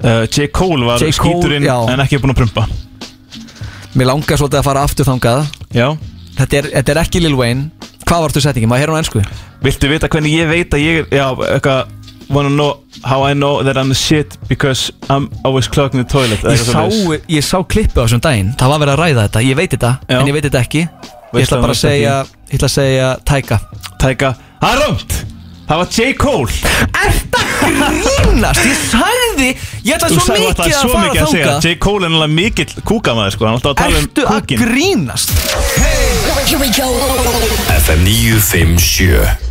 Speaker 2: Uh, J. Cole var
Speaker 1: J. Cole,
Speaker 2: skíturinn
Speaker 1: já.
Speaker 2: en ekki búinn að prumpa
Speaker 1: Mér langar svolítið að fara aftur þangað
Speaker 2: Já
Speaker 1: Þetta er, þetta er ekki Lil Wayne Hvað vartu settingin? Maður heyrði á ennsku
Speaker 2: Viltu vita hvernig ég veit að ég er Já, eitthvað Wanna know how I know that I'm the shit Because I'm always clogging the toilet eða
Speaker 1: ég
Speaker 2: eitthvað
Speaker 1: sá,
Speaker 2: svoleiðis.
Speaker 1: ég sá klippu á þessum daginn Það var verið að ræða þetta, ég veit þetta
Speaker 2: Já.
Speaker 1: En ég veit þetta ekki Ég
Speaker 2: Veistu
Speaker 1: ætla
Speaker 2: að
Speaker 1: bara
Speaker 2: þú
Speaker 1: að
Speaker 2: veist ekki?
Speaker 1: segja, ég ætla að segja Tæka
Speaker 2: Tæka Það er rámt Það var J. Cole
Speaker 1: Grínast, ég sagði Ég ætla svo
Speaker 2: sagðir
Speaker 1: mikið að
Speaker 2: svo mikið
Speaker 1: fara
Speaker 2: að segja
Speaker 1: þangað
Speaker 2: J. Cole er náttúrulega mikill kúkamaður sko Hann er alltaf að tala
Speaker 1: Ertu
Speaker 2: um
Speaker 1: að
Speaker 2: kúkin
Speaker 1: grínast?
Speaker 13: FM 957